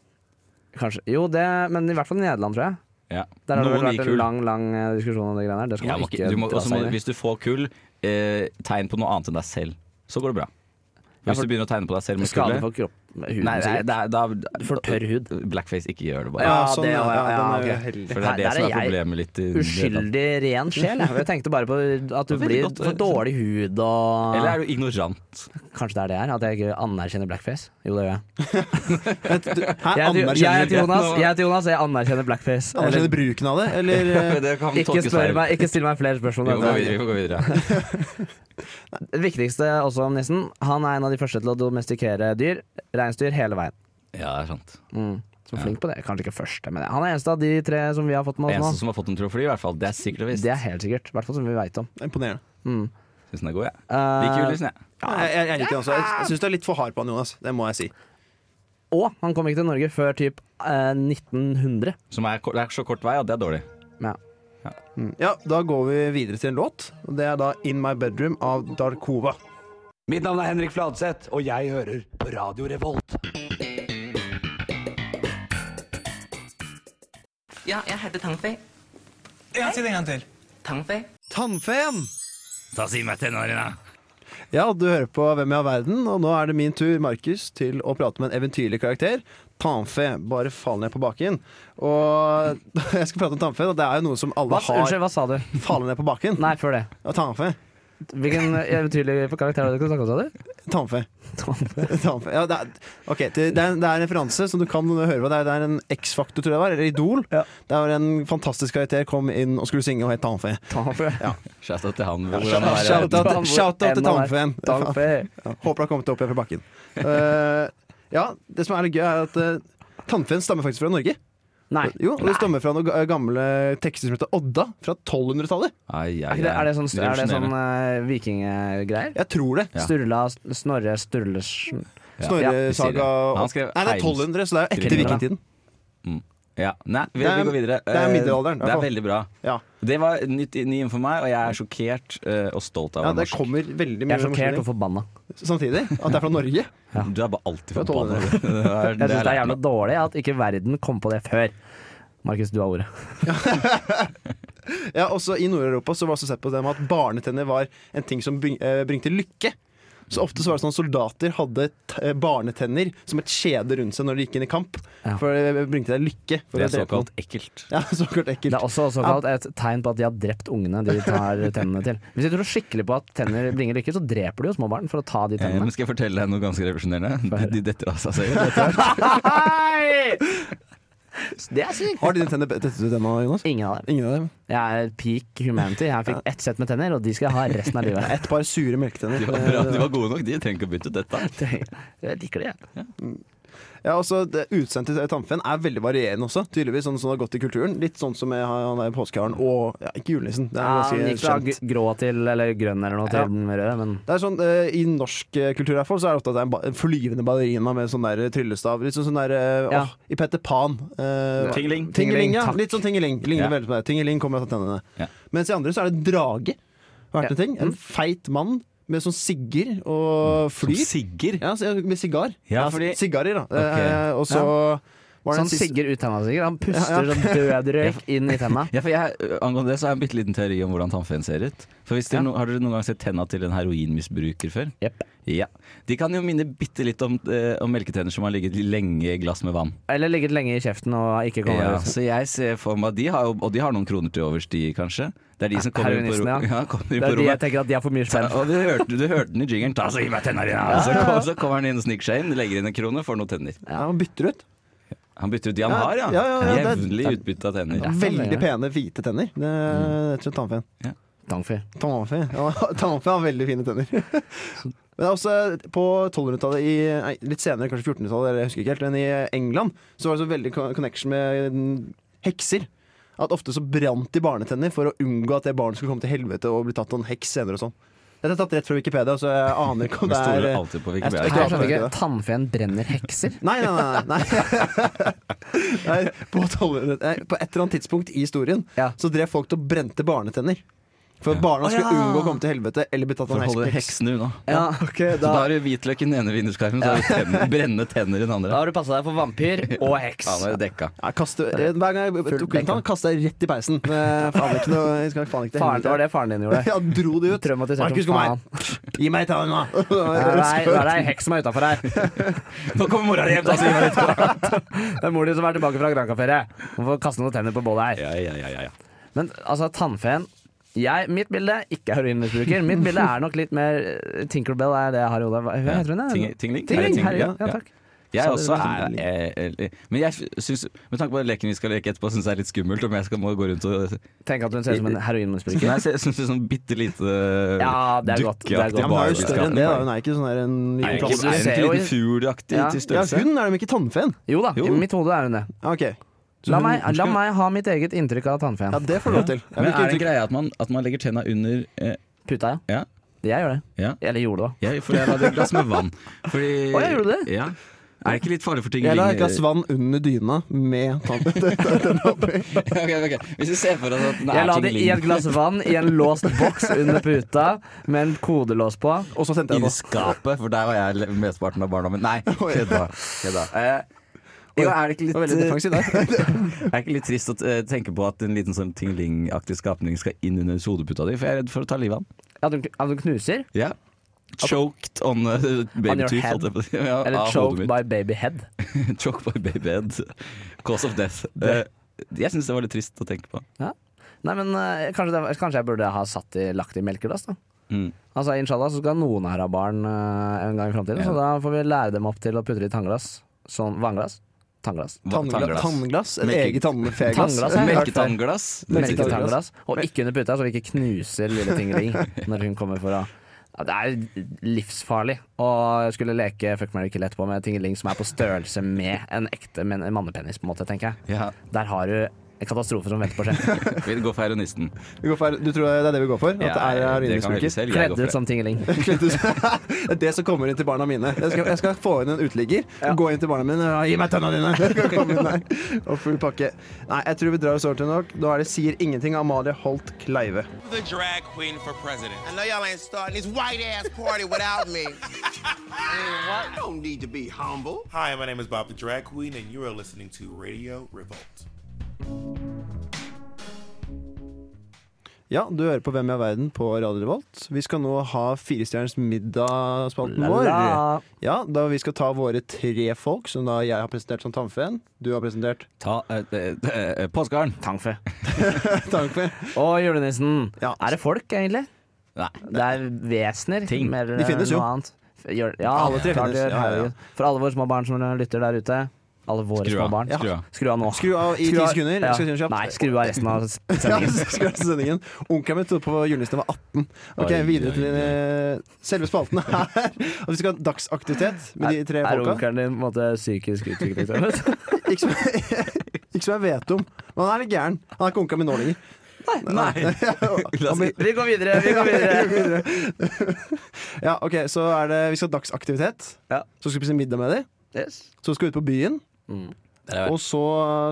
[SPEAKER 1] Kanskje. Jo, det, men i hvert fall i Nederland, tror jeg.
[SPEAKER 3] Ja.
[SPEAKER 1] Der har det vel
[SPEAKER 3] Noen
[SPEAKER 1] vært
[SPEAKER 3] gir
[SPEAKER 1] en
[SPEAKER 3] kull.
[SPEAKER 1] lang lang eh, diskusjon om det greiene der. Det skal
[SPEAKER 3] Ja,
[SPEAKER 1] man
[SPEAKER 3] må
[SPEAKER 1] ikke
[SPEAKER 3] ikke- du må,
[SPEAKER 1] dra
[SPEAKER 3] også må,
[SPEAKER 1] seg inn i.
[SPEAKER 3] hvis du får kull, eh, tegn på noe annet enn deg selv. Så går det bra.
[SPEAKER 1] Ja,
[SPEAKER 3] Hvis
[SPEAKER 1] for-
[SPEAKER 3] du begynner å tegne på deg selv med
[SPEAKER 1] Skade
[SPEAKER 3] kullet,
[SPEAKER 1] for kropp,
[SPEAKER 3] Nei,
[SPEAKER 1] huden
[SPEAKER 3] nei,
[SPEAKER 1] sikkert.
[SPEAKER 3] det er, da,
[SPEAKER 1] Du får tørr hud.
[SPEAKER 3] Blackface, ikke gjør det bare.
[SPEAKER 1] Ja,
[SPEAKER 2] sånn,
[SPEAKER 1] det-
[SPEAKER 2] ja,
[SPEAKER 1] ja,
[SPEAKER 2] den
[SPEAKER 1] ja,
[SPEAKER 2] er jo
[SPEAKER 1] ok.
[SPEAKER 2] heldig.
[SPEAKER 3] For det
[SPEAKER 1] Nei,
[SPEAKER 3] er det
[SPEAKER 1] der
[SPEAKER 3] som
[SPEAKER 1] er
[SPEAKER 3] er
[SPEAKER 1] jeg
[SPEAKER 3] problemet litt. i-
[SPEAKER 1] Uskyldig ren sjel. Jeg. jeg tenkte bare på at du
[SPEAKER 3] Veldig
[SPEAKER 1] blir
[SPEAKER 3] godt,
[SPEAKER 1] for dårlig hud og
[SPEAKER 3] Eller er du
[SPEAKER 1] [laughs]
[SPEAKER 3] ignorant?
[SPEAKER 1] Kanskje det er det her? At jeg ikke anerkjenner blackface? Jo, det gjør jeg.
[SPEAKER 2] Her
[SPEAKER 1] Jeg, er til- jeg, er
[SPEAKER 2] anerkjenner
[SPEAKER 1] til
[SPEAKER 2] du
[SPEAKER 1] Jonas,
[SPEAKER 3] nå-
[SPEAKER 1] jeg er til Jonas, og jeg anerkjenner blackface.
[SPEAKER 2] Anerkjenner bruken av det, eller eh,
[SPEAKER 3] Det kan
[SPEAKER 1] Eller, ikke,
[SPEAKER 3] tolkes
[SPEAKER 1] spør
[SPEAKER 3] feil.
[SPEAKER 1] meg, ikke still meg flere
[SPEAKER 3] Vi [laughs]
[SPEAKER 1] spørsmål.
[SPEAKER 3] får
[SPEAKER 1] om
[SPEAKER 3] gå
[SPEAKER 1] dette.
[SPEAKER 3] videre. Vi får gå videre.
[SPEAKER 1] Det viktigste også om nissen, han er en av de første til å domestikere dyr. Reinsdyr hele veien.
[SPEAKER 3] [laughs] Ja, det er sant.
[SPEAKER 1] Mm. Så
[SPEAKER 3] Ja.
[SPEAKER 1] flink på det. Kanskje ikke første, men han er eneste av de tre som vi har fått med
[SPEAKER 3] Eneste
[SPEAKER 1] oss nå.
[SPEAKER 3] som har fått en trofé, i hvert fall. Det er sikkert og visst.
[SPEAKER 1] Det er helt sikkert. I hvert fall som vi veit om.
[SPEAKER 2] Imponerende.
[SPEAKER 1] Mm.
[SPEAKER 3] Syns den er god, jeg.
[SPEAKER 1] Eh,
[SPEAKER 3] Liker julenissen, jeg.
[SPEAKER 2] Jeg, jeg, jeg liker den også. Jeg, jeg syns du er litt for hard på han, Jonas. Det må jeg si.
[SPEAKER 1] og han kom ikke til Norge før typ eh, 1900.
[SPEAKER 3] Som er, ko- det er så kort vei at det er dårlig.
[SPEAKER 2] Ja, Da går vi videre til en låt. og Det er da 'In My Bedroom' av Darkova.
[SPEAKER 4] Mitt navn er Henrik Fladseth, og jeg hører på Radio Revolt.
[SPEAKER 7] Ja, jeg heter Tangfei. Ja, si det en gang til. Tangfei.
[SPEAKER 2] Tannfeen!
[SPEAKER 6] Ta si meg tennene dine.
[SPEAKER 2] Ja, du hører på Hvem i all verden, og nå er det min tur, Markus, til å prate med en eventyrlig karakter. Tanfe. Bare fall ned på baken. Og [laughs] jeg skal prate om Tanfe. og Det er jo noe som alle
[SPEAKER 1] Hva,
[SPEAKER 2] har.
[SPEAKER 1] unnskyld, hva sa du?
[SPEAKER 2] Falle ned på baken.
[SPEAKER 1] Nei, før det.
[SPEAKER 2] Ja, Tanfe.
[SPEAKER 1] Hvilken eventyrlig karakter har du snakket om, sa du?
[SPEAKER 2] Tanfe.
[SPEAKER 1] Tom.
[SPEAKER 2] Tanfe. Ja, det, er, ok, det, det, er, det er en referanse som du kan høre på. Det er, det er en X-faktor, tror jeg det var, eller Idol.
[SPEAKER 1] Ja.
[SPEAKER 2] Der var en fantastisk karakter kom inn og skulle synge og het Tanfe.
[SPEAKER 1] Tom.
[SPEAKER 3] Shout-out til han. hvor han er-
[SPEAKER 2] Shout-out
[SPEAKER 1] Tanfe.
[SPEAKER 2] shout out til
[SPEAKER 1] Enda
[SPEAKER 2] Tanfeen.
[SPEAKER 1] Tom Fay.
[SPEAKER 2] Ja, håper du har kommet deg opp igjen fra bakken. Eh, ja, det som er litt gøy, er at uh, Tannfen stammer faktisk fra Norge.
[SPEAKER 1] Nei.
[SPEAKER 2] Jo, og Det stammer fra noen ga- gamle tekster som heter Odda, fra 1200-tallet.
[SPEAKER 3] Ai, ai,
[SPEAKER 1] Er, ikke det,
[SPEAKER 3] ai.
[SPEAKER 1] er det sånn, er det sånn
[SPEAKER 3] Revolusjonerende.
[SPEAKER 1] eh, vikinggreier?
[SPEAKER 2] Jeg tror det.
[SPEAKER 3] Ja.
[SPEAKER 1] Sturla, Snorre, Sturlersen Ja,
[SPEAKER 2] Snorre
[SPEAKER 3] vi sier det.
[SPEAKER 2] Saga og-
[SPEAKER 3] Han skrev
[SPEAKER 2] Nei, det er
[SPEAKER 3] Heims-
[SPEAKER 2] 1200, så det er jo etter
[SPEAKER 3] Triller.
[SPEAKER 2] vikingtiden.
[SPEAKER 3] Ja. Nei, vi,
[SPEAKER 2] Det er-
[SPEAKER 3] vi går videre.
[SPEAKER 2] det er
[SPEAKER 3] Eh,
[SPEAKER 2] middelalderen,
[SPEAKER 3] Det
[SPEAKER 2] i hvert
[SPEAKER 3] er
[SPEAKER 2] fall.
[SPEAKER 3] veldig bra.
[SPEAKER 2] Ja.
[SPEAKER 3] Det var nytt, ny info for meg, og jeg er sjokkert eh, og stolt av å
[SPEAKER 2] ja,
[SPEAKER 3] være
[SPEAKER 2] Det
[SPEAKER 3] norsk.
[SPEAKER 2] kommer veldig
[SPEAKER 1] Jeg er
[SPEAKER 2] mye
[SPEAKER 1] sjokkert og
[SPEAKER 2] emosjoner
[SPEAKER 1] forbanna.
[SPEAKER 2] samtidig. At det er fra Norge.
[SPEAKER 3] Du er bare alltid
[SPEAKER 2] Jeg tåler
[SPEAKER 3] forbanna. [laughs]
[SPEAKER 2] det.
[SPEAKER 3] Det er-
[SPEAKER 1] Jeg
[SPEAKER 3] det
[SPEAKER 1] syns det er
[SPEAKER 3] lært
[SPEAKER 1] jævla
[SPEAKER 3] meg.
[SPEAKER 1] dårlig at ikke verden kom på det før. Markus, du har ordet.
[SPEAKER 2] Ja, også I Nord-Europa så var det også sett på det med at barnetenner var en ting som bring, eh, bringte lykke. Så ofte så var det sånn at soldater hadde t eh, barnetenner som et kjede rundt seg når de gikk inn i kamp.
[SPEAKER 1] Ja.
[SPEAKER 2] For det eh, bringte deg lykke. For
[SPEAKER 3] Det
[SPEAKER 2] å
[SPEAKER 3] er
[SPEAKER 2] drepe noen.
[SPEAKER 3] såkalt ekkelt.
[SPEAKER 2] [laughs] Ja, såkalt
[SPEAKER 1] Det
[SPEAKER 2] ekkelt.
[SPEAKER 1] er også såkalt et tegn på at de har drept ungene de
[SPEAKER 3] [laughs]
[SPEAKER 1] tar tennene til. Hvis du tror skikkelig på at tenner bringer lykke, så dreper du jo små barn for å ta de
[SPEAKER 3] Eh,
[SPEAKER 1] tennene.
[SPEAKER 3] men skal jeg fortelle deg noe ganske revolusjonerende? De, de detter av seg selv.
[SPEAKER 1] Nei! [laughs] Det er sykt.
[SPEAKER 2] Har dine tenner tettet ut ennå, Jonas?
[SPEAKER 1] Ingen av dem.
[SPEAKER 2] Ingen av dem.
[SPEAKER 1] Jeg er peak humanity. Jeg fikk ett sett med tenner, og de skal jeg ha resten av
[SPEAKER 2] Det
[SPEAKER 3] [laughs]
[SPEAKER 1] livet.
[SPEAKER 2] er et par sure
[SPEAKER 1] [laughs]
[SPEAKER 2] melketenner.
[SPEAKER 3] De
[SPEAKER 2] Eh,
[SPEAKER 3] var, bra, de var gode nok, de trenger ikke å bytte ut dette.
[SPEAKER 1] Jeg liker det, jeg.
[SPEAKER 2] Ja, også det Utseendet til Tannfen er veldig varierende også. Tydeligvis sånn som det har gått i kulturen. Litt sånn som jeg har- han der påskeharen og ja, ikke julenissen. Det er
[SPEAKER 1] Ja, Han
[SPEAKER 2] ganske
[SPEAKER 1] gikk fra
[SPEAKER 2] kjent.
[SPEAKER 1] gr- grå til eller grønn eller noe
[SPEAKER 2] Ja.
[SPEAKER 1] til den rød, men
[SPEAKER 2] Det er sånn, eh, I norsk eh, kultur i hvert fall, så er det ofte at det er en, ba en flyvende ballerina med sånn der eh, tryllestav. Litt sånn sånn der eh,
[SPEAKER 1] Ja.
[SPEAKER 2] åh, I Petter Pan. eh,
[SPEAKER 3] Tingeling.
[SPEAKER 2] Tingeling, ja.
[SPEAKER 1] Tingeling, takk.
[SPEAKER 2] Litt sånn tingeling.
[SPEAKER 3] Ja.
[SPEAKER 2] Ligner veldig på det. Tingeling kommer av tennene.
[SPEAKER 3] Ja.
[SPEAKER 2] Mens i andre så er det drage. Har vært
[SPEAKER 1] Ja.
[SPEAKER 2] en ting. En feit mann med sånn sigger og
[SPEAKER 3] Som
[SPEAKER 2] flyr.
[SPEAKER 3] Sigger.
[SPEAKER 2] Ja, så- med sigar.
[SPEAKER 3] Ja,
[SPEAKER 2] Ja,
[SPEAKER 3] fordi-
[SPEAKER 2] Sigarer, da.
[SPEAKER 3] Ok.
[SPEAKER 2] Eh, og så var det
[SPEAKER 1] Sånn
[SPEAKER 2] en siste
[SPEAKER 1] Sigurd ut tenna, sikkert. Han
[SPEAKER 2] Ja,
[SPEAKER 1] puster
[SPEAKER 2] ja.
[SPEAKER 1] sånn død røyk inn i tenna.
[SPEAKER 3] Ja, for jeg, ø, angående det så har jeg en bitte liten teori om hvordan tannfeen ser ut. For hvis dere
[SPEAKER 1] Ja.
[SPEAKER 3] no, Har dere noen gang sett tenna til en heroinmisbruker før?
[SPEAKER 1] Jepp.
[SPEAKER 3] Ja. De kan jo minne bitte litt om, eh, om melketenner som har ligget lenge i glass med vann.
[SPEAKER 1] Eller ligget lenge i kjeften og ikke kommet
[SPEAKER 3] Ja,
[SPEAKER 1] ut.
[SPEAKER 3] så jeg ser for meg at de har, jo- Og de har noen kroner til overs, de kanskje. Det er de som kommer inn på, ro-
[SPEAKER 1] Heroinistene,
[SPEAKER 3] [laughs]
[SPEAKER 1] ja.
[SPEAKER 3] ja, kommer inn
[SPEAKER 1] Det
[SPEAKER 3] på
[SPEAKER 1] er de jeg
[SPEAKER 3] rommet.
[SPEAKER 1] tenker at de har for mye spenn.
[SPEAKER 3] Og du hørte, du hørte den i jingeren. Ta så gi meg tenna dine! Så, kom, så kommer han inn og sniker seg inn, legger inn en krone, får noen tenner.
[SPEAKER 2] ja, Han bytter ut.
[SPEAKER 3] Han bytter ut de han
[SPEAKER 2] Ja,
[SPEAKER 3] har, ja.
[SPEAKER 2] ja, ja, ja, det-
[SPEAKER 3] Jevnlig utbytte av tenner.
[SPEAKER 1] Ja.
[SPEAKER 2] Veldig
[SPEAKER 1] det er
[SPEAKER 2] pene, hvite tenner. Det er rett og slett tannfen.
[SPEAKER 1] Tangfy.
[SPEAKER 2] Tannfe. Ja, [laughs] tannfe har veldig fine tenner. [laughs] Men det er også på 1200-tallet, i- nei, litt senere, kanskje 1400-tallet, eller jeg husker ikke helt, men i England så var det så veldig co- connection med mm, hekser. At ofte så brant de barnetenner for å unngå at det barnet skulle komme til helvete og bli tatt av en heks senere og sånn. Dette er tatt rett fra Wikipedia, så jeg aner ikke om
[SPEAKER 3] Vi
[SPEAKER 2] det er
[SPEAKER 3] stoler
[SPEAKER 2] eh,
[SPEAKER 3] alltid på
[SPEAKER 2] jeg
[SPEAKER 1] Her
[SPEAKER 3] Wikipedia.
[SPEAKER 2] stoler-
[SPEAKER 1] skjønner jeg ikke. Tannfeen brenner hekser?
[SPEAKER 2] [laughs] Nei, nei, nei. nei. nei på, 1200 nei, på et eller annet tidspunkt i historien
[SPEAKER 1] Ja.
[SPEAKER 2] så drev folk til å brente barnetenner. For at barna skulle
[SPEAKER 1] Å, ja.
[SPEAKER 2] unngå å komme til helvete eller bli tatt av
[SPEAKER 3] For å
[SPEAKER 2] en
[SPEAKER 3] holde
[SPEAKER 2] heks.
[SPEAKER 3] heksene unna.
[SPEAKER 1] Ja,
[SPEAKER 2] Ok,
[SPEAKER 3] Så da
[SPEAKER 2] da
[SPEAKER 3] har du hvitløk i den ene vinduskarmen, så har du tenner, brennende tenner i den
[SPEAKER 1] Da
[SPEAKER 3] andre.
[SPEAKER 1] har du passa deg for vampyr og heks.
[SPEAKER 3] Ja, nå er det dekka.
[SPEAKER 2] ja, kaste, eh, Hver gang jeg tok en tann, kasta jeg rett i peisen. Eh, Faen ikke noe jeg skal faen ikke til
[SPEAKER 1] Faren, det var det faren din gjorde.
[SPEAKER 2] [laughs] Ja, dro det ut.
[SPEAKER 1] Traumatisert
[SPEAKER 2] Markus,
[SPEAKER 1] som
[SPEAKER 2] kom
[SPEAKER 1] faen.
[SPEAKER 2] her. Gi meg tanna!
[SPEAKER 1] Nei, nei, det er ei heks som er utafor her.
[SPEAKER 3] Nå kommer mora di hjem, Tasim!
[SPEAKER 1] Det er mor di som er tilbake fra Granca-ferie. Hun får kaste noen tenner på bålet her.
[SPEAKER 3] Ja, ja, ja, ja, ja.
[SPEAKER 1] Men altså, tannfeen jeg, Mitt bilde ikke heroinmisbruker.
[SPEAKER 3] [laughs]
[SPEAKER 1] Mitt bilde er nok litt mer eh, Tinkerbell er det jeg har i hodet. Hva hva heter hun? da?
[SPEAKER 3] Ting- Tingling? Er det
[SPEAKER 1] Tingling,
[SPEAKER 3] Tingling?
[SPEAKER 1] herregud.
[SPEAKER 3] Ja,
[SPEAKER 1] Ja,
[SPEAKER 3] ja.
[SPEAKER 1] takk.
[SPEAKER 3] Jeg
[SPEAKER 1] Sa
[SPEAKER 3] også
[SPEAKER 1] det
[SPEAKER 3] er eh, eh, Men jeg synes, med tanke på leken vi skal leke etterpå, syns jeg er litt skummelt om jeg skal må gå rundt og
[SPEAKER 1] Tenk at hun ser ut som en heroinmisbruker.
[SPEAKER 3] Nei, jeg syns det er sånn bitte lite
[SPEAKER 1] Ja, det er godt, det er godt.
[SPEAKER 2] Ja, men hun er jo større enn det. da Hun er ikke sånn der en
[SPEAKER 3] Nei,
[SPEAKER 2] liten
[SPEAKER 3] ikke
[SPEAKER 1] Du
[SPEAKER 3] så-
[SPEAKER 2] klasse.
[SPEAKER 1] ser
[SPEAKER 3] er en
[SPEAKER 1] jo
[SPEAKER 3] liten
[SPEAKER 1] i-
[SPEAKER 3] fugleaktig
[SPEAKER 1] Ja.
[SPEAKER 3] til
[SPEAKER 2] Ja,
[SPEAKER 3] størrelse.
[SPEAKER 2] hun er de ikke tannfeen.
[SPEAKER 1] Jo da,
[SPEAKER 3] Jo.
[SPEAKER 1] i mitt hode er hun det.
[SPEAKER 2] Ja, ok. Så
[SPEAKER 1] La
[SPEAKER 2] hun-
[SPEAKER 1] meg,
[SPEAKER 2] hun
[SPEAKER 1] la
[SPEAKER 2] skal-
[SPEAKER 1] meg ha mitt eget inntrykk av tannfeen.
[SPEAKER 2] Ja, det får du lov til. Jeg
[SPEAKER 3] Men er
[SPEAKER 2] vil ikke
[SPEAKER 3] det en
[SPEAKER 2] uttrykke-
[SPEAKER 3] greie at man, at man legger tenna under eh,
[SPEAKER 1] Puta, ja.
[SPEAKER 3] Ja.
[SPEAKER 1] Jeg gjør det.
[SPEAKER 3] Ja.
[SPEAKER 1] Eller gjorde det, da.
[SPEAKER 3] Jeg, for jeg la det et glass med vann. Fordi,
[SPEAKER 1] Å, jeg gjorde det?
[SPEAKER 3] Ja. Er det ikke litt farlig for ting
[SPEAKER 2] Jeg la
[SPEAKER 3] ligger-
[SPEAKER 2] et glass vann under dyna
[SPEAKER 3] [laughs]
[SPEAKER 2] med tann.
[SPEAKER 3] Ok, [laughs] ok, ok. Hvis du ser for deg at den
[SPEAKER 1] Jeg
[SPEAKER 3] er
[SPEAKER 1] la det i et
[SPEAKER 3] tingling
[SPEAKER 1] glass vann i en låst boks under puta med en kodelås på.
[SPEAKER 2] Og så sendte jeg
[SPEAKER 3] i
[SPEAKER 2] den.
[SPEAKER 3] skapet, for der var jeg le- mesteparten av barna mine.
[SPEAKER 1] [laughs]
[SPEAKER 3] Nei, kødda. kødda. Eh, jo, er det ikke
[SPEAKER 2] Det var veldig
[SPEAKER 3] litt,
[SPEAKER 2] defensivt der.
[SPEAKER 3] er
[SPEAKER 1] [laughs]
[SPEAKER 3] det ikke litt trist å eh, tenke på at en liten sånn tingling-aktig skapning skal inn under hodeputa di? For jeg er redd for å ta livet av den.
[SPEAKER 1] At hun, at hun knuser.
[SPEAKER 3] Ja. Choked on uh,
[SPEAKER 1] On your
[SPEAKER 3] babytooth.
[SPEAKER 1] head.
[SPEAKER 3] holdt jeg på å si. Ja,
[SPEAKER 1] Eller
[SPEAKER 3] av hodet
[SPEAKER 1] choked
[SPEAKER 3] mitt.
[SPEAKER 1] by baby head.
[SPEAKER 3] [laughs] Choked by babyhead. Cause of death. Eh, jeg syns det var litt trist å tenke på.
[SPEAKER 1] Nei, men eh, kanskje, det, kanskje jeg burde ha satt i, lagt i melkeglass, da.
[SPEAKER 3] Mm.
[SPEAKER 1] Altså, Inshallah så skal noen her ha barn eh, en gang i framtiden, så da får vi lære dem opp til å putte det i tannglass. Sånn vannglass. Tannglass.
[SPEAKER 2] Tannglass. Tannglass. Et
[SPEAKER 3] Melke-
[SPEAKER 2] eget tannfeglass.
[SPEAKER 1] Tannglass, ja.
[SPEAKER 3] Melketannglass.
[SPEAKER 2] Melketannglass.
[SPEAKER 1] Melketannglass. Og ikke under puta, så vi ikke knuser lille Tingling når hun kommer for å ja, det er livsfarlig å skulle leke fuck marry kill etterpå med Tingeling som er på størrelse med en ekte men- mannepenis, på en måte, tenker jeg.
[SPEAKER 3] Ja,
[SPEAKER 1] Der har du en katastrofe som venter
[SPEAKER 3] [laughs]
[SPEAKER 1] på å skje.
[SPEAKER 3] vi går for
[SPEAKER 1] [laughs]
[SPEAKER 3] heronisten.
[SPEAKER 2] Vi går for, du tror det er det vi går for? At det
[SPEAKER 3] Ja,
[SPEAKER 2] er
[SPEAKER 3] det kan vi velge
[SPEAKER 2] heroinmisbruker?
[SPEAKER 3] selv. Jeg
[SPEAKER 1] Kledd
[SPEAKER 3] går
[SPEAKER 1] ut
[SPEAKER 3] for det.
[SPEAKER 1] som Tingeling.
[SPEAKER 2] [laughs] Det er det som kommer inn til barna mine. Jeg skal, jeg skal få inn en uteligger, gå inn til barna mine og gi meg tennene dine! [laughs] Jeg skal komme inn her. Og full pakke. Nei, jeg tror vi drar oss over til nok. Da er det Sier ingenting av Amalie Holt Kleive.
[SPEAKER 7] the drag queen for president. I know y'all ain't starting this white ass party without [laughs] me. I don't need to be humble.
[SPEAKER 8] Hi, my name is Bob the Drag Queen, and you are listening to Radio Revolt.
[SPEAKER 2] Ja, du hører på Hvem er verden på Radio Revolt. Vi skal nå ha Firestjerners middagsspalten vår.
[SPEAKER 1] La-la.
[SPEAKER 2] Ja, da vi skal ta våre tre folk, som da jeg har presentert som tannfeen. Du har presentert
[SPEAKER 3] Ta eh, eh, eh, Påskearen.
[SPEAKER 2] [laughs]
[SPEAKER 1] Tangfe.
[SPEAKER 2] tannfeen.
[SPEAKER 1] Og julenissen.
[SPEAKER 2] Ja.
[SPEAKER 1] Er det folk, egentlig?
[SPEAKER 3] Nei.
[SPEAKER 1] Det er vesener.
[SPEAKER 3] Ting.
[SPEAKER 1] Mer
[SPEAKER 2] De finnes
[SPEAKER 1] enn
[SPEAKER 2] jo.
[SPEAKER 1] noe annet. Gjør- Ja,
[SPEAKER 2] Alle tre
[SPEAKER 1] klart
[SPEAKER 2] finnes.
[SPEAKER 1] gjør,
[SPEAKER 2] Ja, ja, ja.
[SPEAKER 1] herregud. For alle våre små barn som lytter der ute. Alle våre
[SPEAKER 3] Skru
[SPEAKER 1] små
[SPEAKER 3] av.
[SPEAKER 1] barn.
[SPEAKER 3] Skru av.
[SPEAKER 1] Skru av nå.
[SPEAKER 2] Skru av i ti sekunder.
[SPEAKER 1] Ja.
[SPEAKER 2] Jeg skal si det kjapt.
[SPEAKER 1] Nei, skru av resten av
[SPEAKER 2] Ja,
[SPEAKER 1] sendingen.
[SPEAKER 2] så skal jeg til sendingen. Onkelen min trodde på julenissen var 18. Ok,
[SPEAKER 3] Oi,
[SPEAKER 2] Videre
[SPEAKER 3] oi,
[SPEAKER 2] til eh, selve spalten her. At vi skal ha dagsaktivitet [laughs] med de tre
[SPEAKER 1] Er
[SPEAKER 2] folka.
[SPEAKER 1] onkelen din på en måte psykisk utviklingshemmet?
[SPEAKER 2] Ikke som, [laughs] ikke som jeg vet om. Men han er litt gæren. Han er ikke onkelen min nå lenger.
[SPEAKER 3] La oss-
[SPEAKER 1] [laughs] Vi går videre, vi går videre.
[SPEAKER 2] [laughs] Ja, ok, Så er det, vi skal ha dagsaktivitet.
[SPEAKER 1] Ja.
[SPEAKER 2] Så skal vi spise middag med dem.
[SPEAKER 1] Yes.
[SPEAKER 2] Så skal vi ut på byen.
[SPEAKER 3] Der Mm. er vi.
[SPEAKER 2] Og så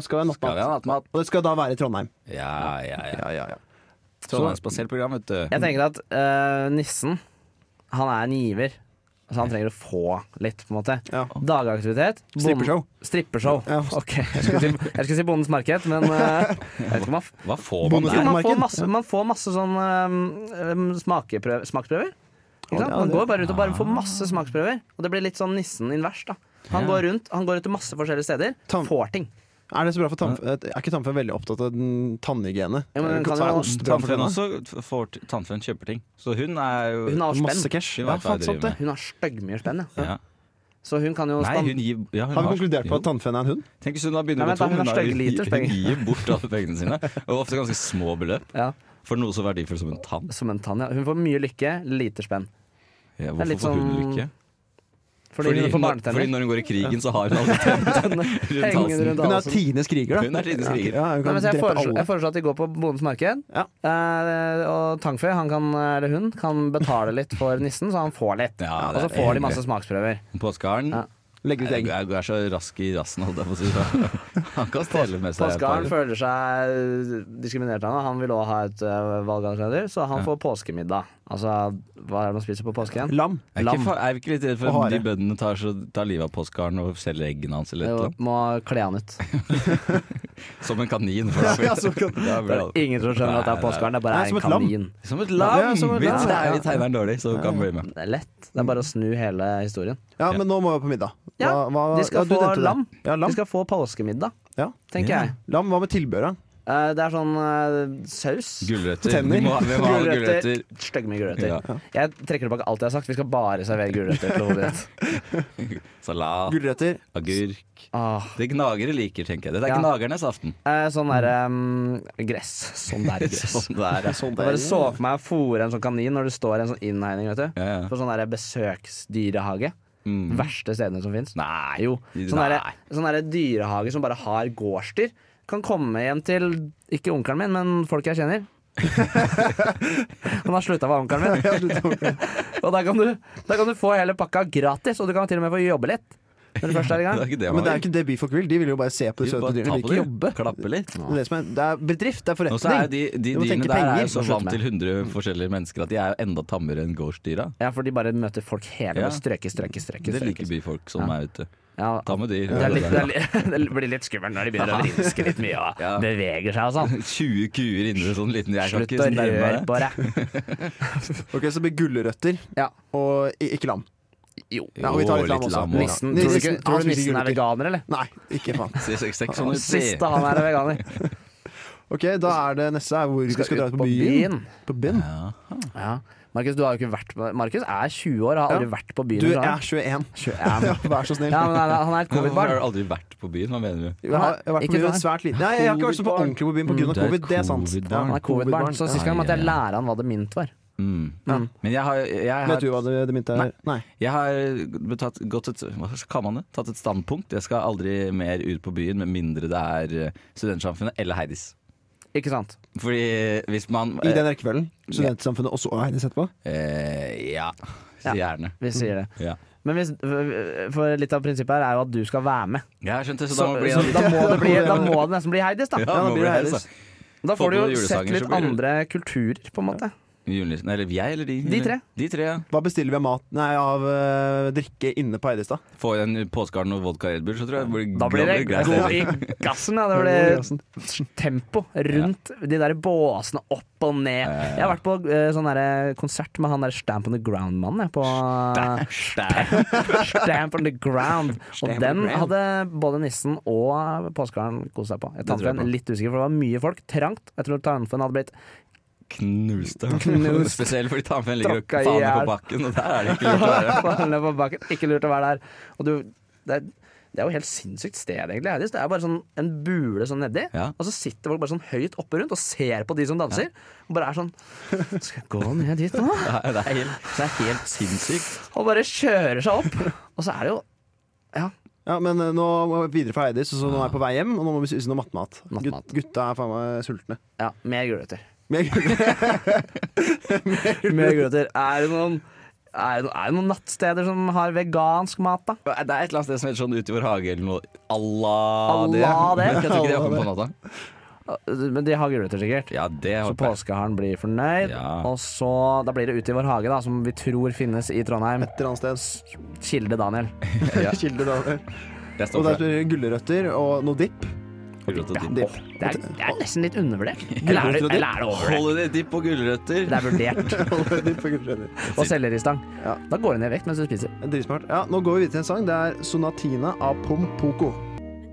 [SPEAKER 2] skal vi ha
[SPEAKER 3] Skal vi ha
[SPEAKER 2] nattmat.
[SPEAKER 3] nattmat?
[SPEAKER 2] Og det skal da være i Trondheim.
[SPEAKER 3] Ja, ja, ja.
[SPEAKER 2] Ja, ja, ja.
[SPEAKER 3] Trondheimsbasert program, vet du.
[SPEAKER 1] Jeg tenker at eh, nissen, han er en giver. Så han trenger å få litt, på en måte.
[SPEAKER 2] Ja.
[SPEAKER 1] Dagaktivitet. bond-
[SPEAKER 2] Strippeshow.
[SPEAKER 1] Strippeshow.
[SPEAKER 2] Ja.
[SPEAKER 1] Ok. Jeg skulle si, jeg skulle si Bondens marked, men eh, jeg vet ikke om man, f-
[SPEAKER 3] Hva får man
[SPEAKER 2] Bonus-
[SPEAKER 1] jo,
[SPEAKER 3] der?
[SPEAKER 1] man, får
[SPEAKER 2] marked.
[SPEAKER 1] masse, man får masse sånn eh, um, smakeprøv, smaksprøver. Ikke
[SPEAKER 2] Ja,
[SPEAKER 1] sant? Man
[SPEAKER 2] det-
[SPEAKER 1] går bare rundt og
[SPEAKER 3] Ah.
[SPEAKER 1] bare får masse smaksprøver. Og det blir litt sånn nissen invers. da Han
[SPEAKER 3] Ja.
[SPEAKER 1] går rundt han går rundt til masse forskjellige steder,
[SPEAKER 2] Tam-
[SPEAKER 1] får ting.
[SPEAKER 2] Er det så bra for tannfe... Er ikke tannfeen veldig opptatt av den tannhygiene?
[SPEAKER 1] Ja, men den kan
[SPEAKER 2] Ta
[SPEAKER 1] jo-
[SPEAKER 2] ost bra for
[SPEAKER 3] Tannfeen
[SPEAKER 2] tenna.
[SPEAKER 3] også f- får t- Tannfeen kjøper ting. Så hun er jo
[SPEAKER 1] Hun har
[SPEAKER 2] Masse
[SPEAKER 1] spenn.
[SPEAKER 2] cash.
[SPEAKER 3] Hun
[SPEAKER 2] Ja,
[SPEAKER 3] vet hva
[SPEAKER 2] faen,
[SPEAKER 3] hun driver
[SPEAKER 2] sant det.
[SPEAKER 3] med.
[SPEAKER 1] Hun har stygge mye spenn, ja.
[SPEAKER 3] Ja.
[SPEAKER 1] Så hun kan jo
[SPEAKER 3] Nei,
[SPEAKER 1] stam-
[SPEAKER 3] hun gir ja, hun
[SPEAKER 2] Har vi konkludert
[SPEAKER 3] jo.
[SPEAKER 2] på at tannfeen er en hund?
[SPEAKER 3] Tenk hvis hun da begynner å
[SPEAKER 1] Nei, vent
[SPEAKER 3] gå
[SPEAKER 1] da,
[SPEAKER 3] tom.
[SPEAKER 1] hun har
[SPEAKER 3] da-
[SPEAKER 1] stygge liters
[SPEAKER 3] hun
[SPEAKER 1] penger.
[SPEAKER 3] gir bort alle pengene sine. Og ofte ganske små beløp.
[SPEAKER 1] ja,
[SPEAKER 3] For noe så verdifullt som en tann.
[SPEAKER 1] Som en tann, ja. Hun får mye lykke, lite spenn.
[SPEAKER 3] Ja,
[SPEAKER 1] er
[SPEAKER 3] hvorfor
[SPEAKER 1] litt
[SPEAKER 3] får hun
[SPEAKER 1] sånn-
[SPEAKER 3] lykke?
[SPEAKER 1] Fordi,
[SPEAKER 3] Fordi,
[SPEAKER 1] hun får
[SPEAKER 3] når- fordi
[SPEAKER 1] barnetenner.
[SPEAKER 3] når hun går i krigen, så har hun
[SPEAKER 1] [laughs]
[SPEAKER 3] alle tennene rundt
[SPEAKER 1] Hengende
[SPEAKER 3] halsen.
[SPEAKER 1] rundt
[SPEAKER 2] Hun er
[SPEAKER 1] halsen.
[SPEAKER 2] tidenes kriger, da.
[SPEAKER 3] Hun er tidenes kriger.
[SPEAKER 2] Ja, hun
[SPEAKER 1] Nei,
[SPEAKER 2] kan
[SPEAKER 1] men så jeg,
[SPEAKER 2] drepe
[SPEAKER 1] foreslår,
[SPEAKER 2] alle.
[SPEAKER 1] jeg foreslår at de går på Bondens marked.
[SPEAKER 2] Ja.
[SPEAKER 1] Eh, og Tangfe, han kan, eller hun, kan betale litt for nissen, så han får litt.
[SPEAKER 3] Ja,
[SPEAKER 1] og
[SPEAKER 3] det
[SPEAKER 1] så
[SPEAKER 3] er
[SPEAKER 1] får de
[SPEAKER 3] hyggelig.
[SPEAKER 1] masse smaksprøver.
[SPEAKER 3] Påskeharen.
[SPEAKER 1] Ja.
[SPEAKER 2] Legger ut egg.
[SPEAKER 3] Du er, du er så rask i rassen, holdt jeg på å si.
[SPEAKER 1] [laughs]
[SPEAKER 3] så Han kan stjele med seg et par.
[SPEAKER 1] Påskeharen føler seg eh, diskriminert av noe. Han vil også ha et eh, valgalternativ, så han får påskemiddag. Altså, hva er det man spiser på påsken?
[SPEAKER 2] Lam.
[SPEAKER 3] Er ikke,
[SPEAKER 1] Lam.
[SPEAKER 3] fa- er vi ikke litt redd for
[SPEAKER 2] Og
[SPEAKER 3] at de
[SPEAKER 2] hare.
[SPEAKER 3] bøndene tar, så, tar livet av påskeharen og selger eggene hans eller et
[SPEAKER 1] Jo,
[SPEAKER 3] eller annet?
[SPEAKER 1] må kle han
[SPEAKER 3] [laughs]
[SPEAKER 1] ut.
[SPEAKER 3] Som en kanin. For da blir-
[SPEAKER 2] Ja, altså, som en kanin.
[SPEAKER 3] da blir
[SPEAKER 1] Det
[SPEAKER 3] alle-
[SPEAKER 1] er ingen som skjønner at det er påskeharen, det er bare
[SPEAKER 2] Nei,
[SPEAKER 1] er
[SPEAKER 2] som
[SPEAKER 1] en
[SPEAKER 2] et lam.
[SPEAKER 1] kanin.
[SPEAKER 3] Som et
[SPEAKER 2] Ja,
[SPEAKER 3] lam!
[SPEAKER 2] som et
[SPEAKER 3] vi,
[SPEAKER 2] lam,
[SPEAKER 3] tre-
[SPEAKER 2] ja.
[SPEAKER 3] vi tegner den dårlig, så du kan bli med.
[SPEAKER 1] Det er lett. Det er bare å snu hele historien.
[SPEAKER 2] Ja, men nå må vi på middag. Hva-
[SPEAKER 1] Ja,
[SPEAKER 2] hva-
[SPEAKER 1] de skal
[SPEAKER 2] du
[SPEAKER 1] få
[SPEAKER 2] nevnte det.
[SPEAKER 1] lam.
[SPEAKER 2] Ja, lam.
[SPEAKER 1] De skal få påskemiddag,
[SPEAKER 2] Ja.
[SPEAKER 1] tenker
[SPEAKER 3] Ja.
[SPEAKER 1] jeg.
[SPEAKER 2] lam. Hva med tilbehøret?
[SPEAKER 1] Eh, Det er sånn eh, saus.
[SPEAKER 3] Gulrøtter. Vi
[SPEAKER 2] Tenner.
[SPEAKER 3] må, ha- vi må ha gulrøtter.
[SPEAKER 1] Stygge med gulrøtter.
[SPEAKER 3] Ja.
[SPEAKER 1] Jeg trekker tilbake alt jeg har sagt. Vi skal bare servere gulrøtter til hodet ditt.
[SPEAKER 3] [laughs] Salat,
[SPEAKER 2] Gulrøtter.
[SPEAKER 3] agurk
[SPEAKER 1] Åh.
[SPEAKER 3] Det gnagere liker, tenker jeg. Dette er
[SPEAKER 1] Ja.
[SPEAKER 3] gnagernes aften.
[SPEAKER 1] Ah, Eh, Sånn derre gress. Sånn
[SPEAKER 3] [laughs]
[SPEAKER 1] der gress.
[SPEAKER 3] Sånn der, ja.
[SPEAKER 1] Jeg bare så for meg å fôre en sånn kanin når du står i en sånn innhegning vet du.
[SPEAKER 3] Ja, ja.
[SPEAKER 1] på sånn der besøksdyrehage. Verste stedene som fins.
[SPEAKER 3] Nei,
[SPEAKER 1] Jo. Sånn
[SPEAKER 3] Nei.
[SPEAKER 1] derre sånn derre dyrehage som bare har gårdsdyr. Kan komme hjem til ikke onkelen min, men folk
[SPEAKER 3] [laughs]
[SPEAKER 1] jeg kjenner. Han har slutta å være onkelen min. Og da kan, du, da kan du få hele pakka gratis, og du kan til og med få jobbe litt. Når du først er
[SPEAKER 3] [laughs]
[SPEAKER 1] i
[SPEAKER 3] Det
[SPEAKER 1] gang.
[SPEAKER 3] er ikke det
[SPEAKER 2] Men
[SPEAKER 3] man
[SPEAKER 2] det er ikke det Beef og Grill. De vil jo bare se på
[SPEAKER 3] vil.
[SPEAKER 2] de søte
[SPEAKER 3] Bare ta
[SPEAKER 2] dyrene. De vil
[SPEAKER 3] på
[SPEAKER 2] ikke
[SPEAKER 3] det,
[SPEAKER 2] jobbe.
[SPEAKER 3] klappe litt.
[SPEAKER 2] Det er, det, som er, det er bedrift, det er forretning.
[SPEAKER 3] Og så er de, de
[SPEAKER 2] Du må
[SPEAKER 3] dyrene
[SPEAKER 2] tenke
[SPEAKER 3] der er
[SPEAKER 2] penger.
[SPEAKER 3] jo så
[SPEAKER 1] Må slutte
[SPEAKER 3] vant til 100 forskjellige mennesker at de er jo enda tammere enn gårdsdyra.
[SPEAKER 1] Ja, for de bare møter folk hele
[SPEAKER 3] Ja.
[SPEAKER 1] med strøke, strøke, strøke.
[SPEAKER 3] Det
[SPEAKER 1] strøke.
[SPEAKER 3] liker byfolk som er ute.
[SPEAKER 1] Ja,
[SPEAKER 3] Ta med dyr.
[SPEAKER 1] Det, er litt, det, er, litt- [laughs] det blir litt skummelt når de begynner å vrinske litt mye og
[SPEAKER 3] Ja.
[SPEAKER 1] beveger seg og sånn.
[SPEAKER 3] 20 kuer inni en sånn liten Jeg kan
[SPEAKER 1] Slutt
[SPEAKER 3] ikke
[SPEAKER 1] å
[SPEAKER 3] sånn
[SPEAKER 1] røre
[SPEAKER 3] nærme meg.
[SPEAKER 1] på deg.
[SPEAKER 2] Ok, Så det blir gulrøtter
[SPEAKER 1] Ja.
[SPEAKER 2] og i- ikke lam.
[SPEAKER 1] Jo.
[SPEAKER 2] Nei, og vi tar litt
[SPEAKER 3] Jo,
[SPEAKER 2] lam
[SPEAKER 3] litt
[SPEAKER 2] også.
[SPEAKER 3] lam også.
[SPEAKER 1] Nissen, tror du ikke
[SPEAKER 2] Nissen- tror
[SPEAKER 1] Hans
[SPEAKER 2] du nissen
[SPEAKER 1] Nissen er
[SPEAKER 2] gulrøtter?
[SPEAKER 1] veganer, eller?
[SPEAKER 2] Nei, ikke faen.
[SPEAKER 3] Ser seks- seks sånn ut.
[SPEAKER 1] Siste han er veganer.
[SPEAKER 2] [laughs] Ok, Da er det neste er hvor vi skal, dra
[SPEAKER 1] ut
[SPEAKER 2] ut på
[SPEAKER 1] på
[SPEAKER 2] byen.
[SPEAKER 1] byen.
[SPEAKER 2] På byen?
[SPEAKER 1] Ja. Markus, du har jo ikke vært på- Markus er 20 år og har aldri
[SPEAKER 2] Ja.
[SPEAKER 1] vært på byen.
[SPEAKER 2] Du,
[SPEAKER 1] eller
[SPEAKER 2] jeg
[SPEAKER 1] sånn.
[SPEAKER 2] er 21. [laughs] Ja,
[SPEAKER 1] 21.
[SPEAKER 2] vær så snill.
[SPEAKER 1] Ja, men han er- han er et
[SPEAKER 3] Hvorfor har
[SPEAKER 1] covid-barn.
[SPEAKER 3] du aldri vært på byen? Hva mener du?
[SPEAKER 2] Jeg har, jeg har vært på
[SPEAKER 1] Ikke
[SPEAKER 2] byen
[SPEAKER 1] det.
[SPEAKER 2] svært liten. Nei, jeg har ikke vært så på
[SPEAKER 1] Covid-barn.
[SPEAKER 2] ordentlig på byen pga.
[SPEAKER 3] du er et
[SPEAKER 2] covid. Det er sant.
[SPEAKER 3] covid-barn.
[SPEAKER 1] Han er covid-barn, så sist gang måtte jeg
[SPEAKER 3] Ja, ja, ja.
[SPEAKER 1] lære han hva det mint var.
[SPEAKER 3] Mm. Men jeg har, jeg har,
[SPEAKER 2] Vet du hva det, det minte er? Nei.
[SPEAKER 3] Jeg har betatt, gått et, hva kan man det? tatt et standpunkt. Jeg skal aldri mer ut på byen med mindre det er eh, Studentsamfunnet eller Heidis.
[SPEAKER 1] Ikke sant?
[SPEAKER 3] Fordi hvis man
[SPEAKER 2] I den rekkefølgen. Studentsamfunnet og så Heidis etterpå.
[SPEAKER 3] eh, Ja,
[SPEAKER 1] Ja.
[SPEAKER 3] gjerne.
[SPEAKER 1] Vi sier det.
[SPEAKER 3] Ja.
[SPEAKER 1] Men hvis, for litt av prinsippet her er jo at du skal være med.
[SPEAKER 3] Jeg skjønte, så,
[SPEAKER 1] Så,
[SPEAKER 3] da må det bli
[SPEAKER 1] så [laughs] da, må det bli, da må det nesten bli Heidis, da.
[SPEAKER 3] Ja, da må det bli Heidis, da.
[SPEAKER 1] Da
[SPEAKER 3] Få
[SPEAKER 1] får du
[SPEAKER 3] på
[SPEAKER 1] jo
[SPEAKER 3] noen
[SPEAKER 1] sett
[SPEAKER 3] julesanger,
[SPEAKER 1] litt
[SPEAKER 3] så blir det-
[SPEAKER 1] andre kulturer, på en måte.
[SPEAKER 3] Julenissen, eller jeg eller de?
[SPEAKER 1] De tre.
[SPEAKER 3] De tre, ja.
[SPEAKER 2] Hva bestiller vi av mat Nei, av eh, drikke inne på Heidis, da?
[SPEAKER 3] Få i en påskearn og vodka Red Bull, så tror jeg blir-
[SPEAKER 1] Da blir det
[SPEAKER 3] greit.
[SPEAKER 1] gå i gassen. Da. Det blir tempo rundt de der båsene, opp og ned. Jeg har vært på eh, sånn derre konsert med han der Stamp on the Ground-mannen. jeg, På [laughs] Stamp on the Ground. Og
[SPEAKER 2] Stamp on
[SPEAKER 1] den
[SPEAKER 2] the ground.
[SPEAKER 1] hadde både nissen og påskeharen kost seg på. Jeg
[SPEAKER 3] tror jeg
[SPEAKER 1] tante
[SPEAKER 3] på.
[SPEAKER 1] litt usikker, for det var mye folk. Trangt. Jeg tror tanten hadde blitt
[SPEAKER 3] Knust, da.
[SPEAKER 1] Knust.
[SPEAKER 3] Spesielt fordi Tamfen ligger og
[SPEAKER 1] Tråkka i
[SPEAKER 3] faen meg
[SPEAKER 1] hjel.
[SPEAKER 3] på bakken, og der er det ikke lurt å
[SPEAKER 1] [laughs]
[SPEAKER 3] være.
[SPEAKER 1] Bare ned på bakken. Ikke lurt å være der. Og du, det, er, det er jo helt sinnssykt sted, egentlig. Heidis. Det er bare sånn en bule sånn nedi,
[SPEAKER 3] Ja.
[SPEAKER 1] og så sitter folk bare sånn høyt oppe rundt og ser på de som danser. Og bare er sånn Skal jeg gå ned dit [laughs] nå?
[SPEAKER 3] Det er- Det er helt, det er helt sinnssykt.
[SPEAKER 1] Og bare kjører seg opp. Og så er det jo Ja,
[SPEAKER 2] Ja, men eh, nå må vi videre fra Heidis, og så nå er jeg på vei hjem, og nå må vi spise noe mattmat.
[SPEAKER 1] Nattmat.
[SPEAKER 2] Gut- Gutta er faen meg sultne.
[SPEAKER 1] ja mer gulrøtter.
[SPEAKER 2] Men jeg-
[SPEAKER 1] Mer gulrøtter. Er det noen er det, er det noen nattsteder som har vegansk mat, da?
[SPEAKER 3] Det er et eller annet sted som heter sånn ute i vår hage eller noe. Allah det.
[SPEAKER 1] Allah det.
[SPEAKER 3] Jeg tror ikke de er åpne på natta.
[SPEAKER 1] Men de har gulrøtter, sikkert.
[SPEAKER 3] [laughs] Ja, det
[SPEAKER 1] Så
[SPEAKER 3] håper jeg.
[SPEAKER 1] påskeharen blir fornøyd,
[SPEAKER 3] Ja.
[SPEAKER 1] og så Da blir det ute i vår hage, da, som vi tror finnes i
[SPEAKER 2] Et
[SPEAKER 1] Trondheim.
[SPEAKER 2] eller annet sted.
[SPEAKER 1] Kilde Daniel.
[SPEAKER 2] [laughs] Kilde da.
[SPEAKER 3] Jeg står
[SPEAKER 2] Og der
[SPEAKER 3] for det.
[SPEAKER 2] blir det gulrøtter og noe dipp.
[SPEAKER 3] Gulrøtter og dipp.
[SPEAKER 2] Dipp. [laughs]
[SPEAKER 1] Det er, det er nesten litt undervurdert. Eller er det,
[SPEAKER 2] Gulrøtter og dipp?
[SPEAKER 1] eller er det overvurdert?
[SPEAKER 3] Holiday dipp og gulrøtter.
[SPEAKER 1] Det er vurdert.
[SPEAKER 2] Dipp og gulrøtter.
[SPEAKER 1] Og selleristang.
[SPEAKER 2] Ja.
[SPEAKER 1] Da går du ned i vekt mens du spiser.
[SPEAKER 2] Dritsmart. Ja, nå går vi videre til en sang. Det er Sonatina av Pom Poko.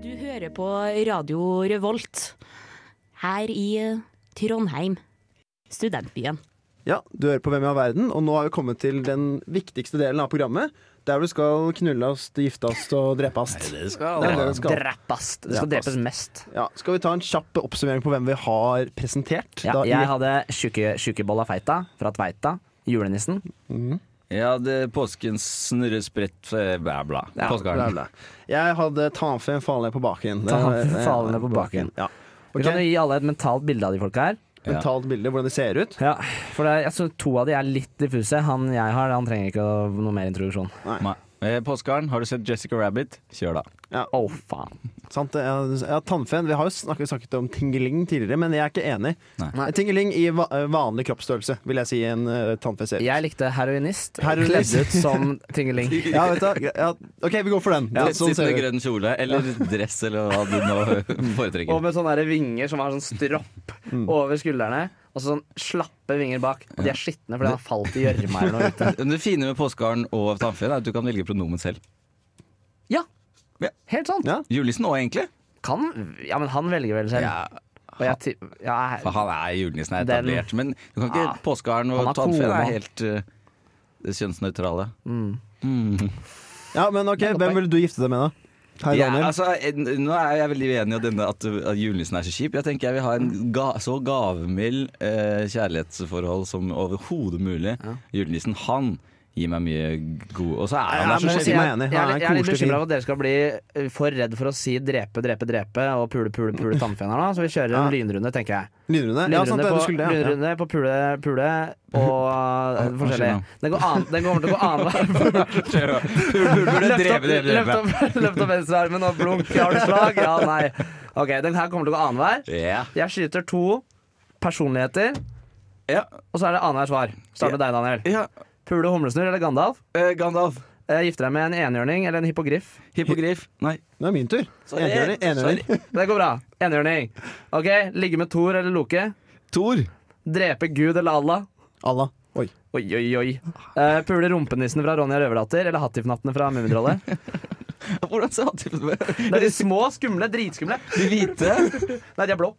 [SPEAKER 9] Du hører på Radio Revolt her i Trondheim, studentbyen.
[SPEAKER 2] Ja, du hører på Hvem i all verden, og nå har vi kommet til den viktigste delen av programmet. Der du skal knulle oss, gifte oss og drepe oss.
[SPEAKER 3] Det skal
[SPEAKER 2] Det er det
[SPEAKER 3] det.
[SPEAKER 2] du skal.
[SPEAKER 1] Drepast. Det skal
[SPEAKER 2] Drepast.
[SPEAKER 1] drepes mest.
[SPEAKER 2] Ja, skal vi ta en kjapp oppsummering på hvem vi har presentert?
[SPEAKER 1] Ja,
[SPEAKER 2] Da i-
[SPEAKER 1] jeg hadde tjukke- tjukkebolla feita fra Tveita. Julenissen.
[SPEAKER 3] Ja, det påskens snurresprett eh, bla, bla.
[SPEAKER 1] Ja,
[SPEAKER 2] Bla,
[SPEAKER 3] Påskearn.
[SPEAKER 2] bla. Jeg hadde Tanfe Fale på baken.
[SPEAKER 1] Ta
[SPEAKER 2] Det-
[SPEAKER 1] han falende på baken.
[SPEAKER 2] Ja.
[SPEAKER 1] Vi kan jo gi alle et mentalt bilde av de folka her.
[SPEAKER 2] Mentalt bilde, hvordan de ser ut.
[SPEAKER 1] Ja, for det, jeg synes To av de er litt diffuse. Han jeg har, han trenger ikke å- noe mer introduksjon.
[SPEAKER 3] Nei. Eh, Påskeharen, har du sett Jessica Rabbit? Kjør, da.
[SPEAKER 1] Å, faen.
[SPEAKER 2] Sant? det? Ja, ja, tannfen. Vi har jo snakket, snakket om tingeling tidligere, men jeg er ikke enig.
[SPEAKER 3] Nei.
[SPEAKER 2] Tingeling i va eh, vanlig kroppsstørrelse, vil jeg si en uh, tannfe ser ut.
[SPEAKER 1] Jeg likte heroinist,
[SPEAKER 2] Heroinist.
[SPEAKER 1] kledd ut som Tingeling. [laughs]
[SPEAKER 2] Ja, vet du, hva? ja, OK, vi går for den. Ja,
[SPEAKER 3] Rett
[SPEAKER 2] sånn
[SPEAKER 3] Sittende
[SPEAKER 2] ser det ut.
[SPEAKER 3] grønn kjole, eller dress, eller hva du nå [laughs]
[SPEAKER 1] Og
[SPEAKER 3] foretrekker.
[SPEAKER 1] med sånne der vinger som har sånn
[SPEAKER 2] [laughs]
[SPEAKER 1] stropp
[SPEAKER 2] Mm.
[SPEAKER 1] over skuldrene. Og så sånn slappe vinger bak. Og de er skitne fordi han har falt i gjørma eller
[SPEAKER 2] [laughs]
[SPEAKER 1] noe. ute.
[SPEAKER 3] Men Det fine med Påskeharen og Tannfeen er at du kan velge pronomen selv.
[SPEAKER 1] Ja,
[SPEAKER 3] Ja.
[SPEAKER 1] helt sant.
[SPEAKER 2] Ja.
[SPEAKER 3] Julenissen òg, egentlig.
[SPEAKER 1] Kan, ja, men han velger vel selv. Og jeg, ti- ja,
[SPEAKER 3] For han er julenissen er
[SPEAKER 1] Den-
[SPEAKER 3] etablert. Men du kan ikke
[SPEAKER 1] Ja.
[SPEAKER 3] Påskeharen
[SPEAKER 1] Han
[SPEAKER 3] og
[SPEAKER 1] har
[SPEAKER 3] Tannfeen
[SPEAKER 1] kone.
[SPEAKER 3] er helt eh, kjønnsnøytrale.
[SPEAKER 2] Ja, men OK,
[SPEAKER 1] godt
[SPEAKER 2] hvem
[SPEAKER 1] poeng.
[SPEAKER 2] vil du gifte deg med, da? Hei,
[SPEAKER 3] Ja,
[SPEAKER 2] Daniel.
[SPEAKER 3] altså, en- nå er jeg veldig uenig i at, denne- at, at julenissen er så kjip. Jeg tenker jeg vil ha en ga, så gavmild eh, kjærlighetsforhold som overhodet mulig. Julenissen, han gir meg mye god Og så er han der
[SPEAKER 2] Ja,
[SPEAKER 1] [laughs]
[SPEAKER 3] så
[SPEAKER 2] men-
[SPEAKER 3] sjelden.
[SPEAKER 2] sjelden jeg er enig.
[SPEAKER 1] jeg er
[SPEAKER 2] Han er
[SPEAKER 1] litt-
[SPEAKER 2] en
[SPEAKER 1] jeg er litt
[SPEAKER 2] koselig
[SPEAKER 1] bekymra
[SPEAKER 2] fyr.
[SPEAKER 1] for at dere skal bli eh, for redd for å si drepe, drepe, drepe og pule, pule, pule tannfeen her nå, så vi kjører en lynrunde, tenker jeg.
[SPEAKER 2] Lynrunde. Ja, sant,
[SPEAKER 1] Lynrunde
[SPEAKER 2] det, du
[SPEAKER 1] på,
[SPEAKER 2] skulle det. Ja.
[SPEAKER 1] lynrunde på pule, pule
[SPEAKER 2] [laughs]
[SPEAKER 1] og eh, forskjellig.
[SPEAKER 3] skjer nå?
[SPEAKER 1] Den går an- den kommer til å gå annenhver
[SPEAKER 3] Burde
[SPEAKER 1] Løft opp,
[SPEAKER 3] drepe det,
[SPEAKER 1] løft
[SPEAKER 3] drepe.
[SPEAKER 1] opp, [laughs] løft opp venstrearmen og blunk. Har du slag? Ja, nei. Ok, Den her kommer til å gå annenhver.
[SPEAKER 3] Ja.
[SPEAKER 1] Jeg skyter to personligheter,
[SPEAKER 3] ja.
[SPEAKER 1] og så er det annenhver svar. Start med deg, Daniel.
[SPEAKER 3] ja.
[SPEAKER 1] Pule humlesnurr eller Gandalf?
[SPEAKER 3] Eh, Gandalf.
[SPEAKER 1] Eh, Gifte deg med en enhjørning eller en hippogriff?
[SPEAKER 3] Hippogriff. Nei.
[SPEAKER 2] Det er min tur.
[SPEAKER 3] Sorry.
[SPEAKER 2] Enhjørning, Enhjørning.
[SPEAKER 1] Det går bra. Enhjørning. Ok, Ligge med Thor eller Loke?
[SPEAKER 3] Thor.
[SPEAKER 1] Drepe Gud eller Allah?
[SPEAKER 2] Allah. Oi.
[SPEAKER 1] Oi, oi, oi. Eh, pule rumpenissen fra Ronja Røverdatter eller Hattifnattene
[SPEAKER 3] [laughs]
[SPEAKER 1] fra Mummitrollet?
[SPEAKER 3] Hvordan sa han til meg?
[SPEAKER 1] Det er de små, skumle, dritskumle.
[SPEAKER 3] De hvite?
[SPEAKER 1] Nei, de er blå.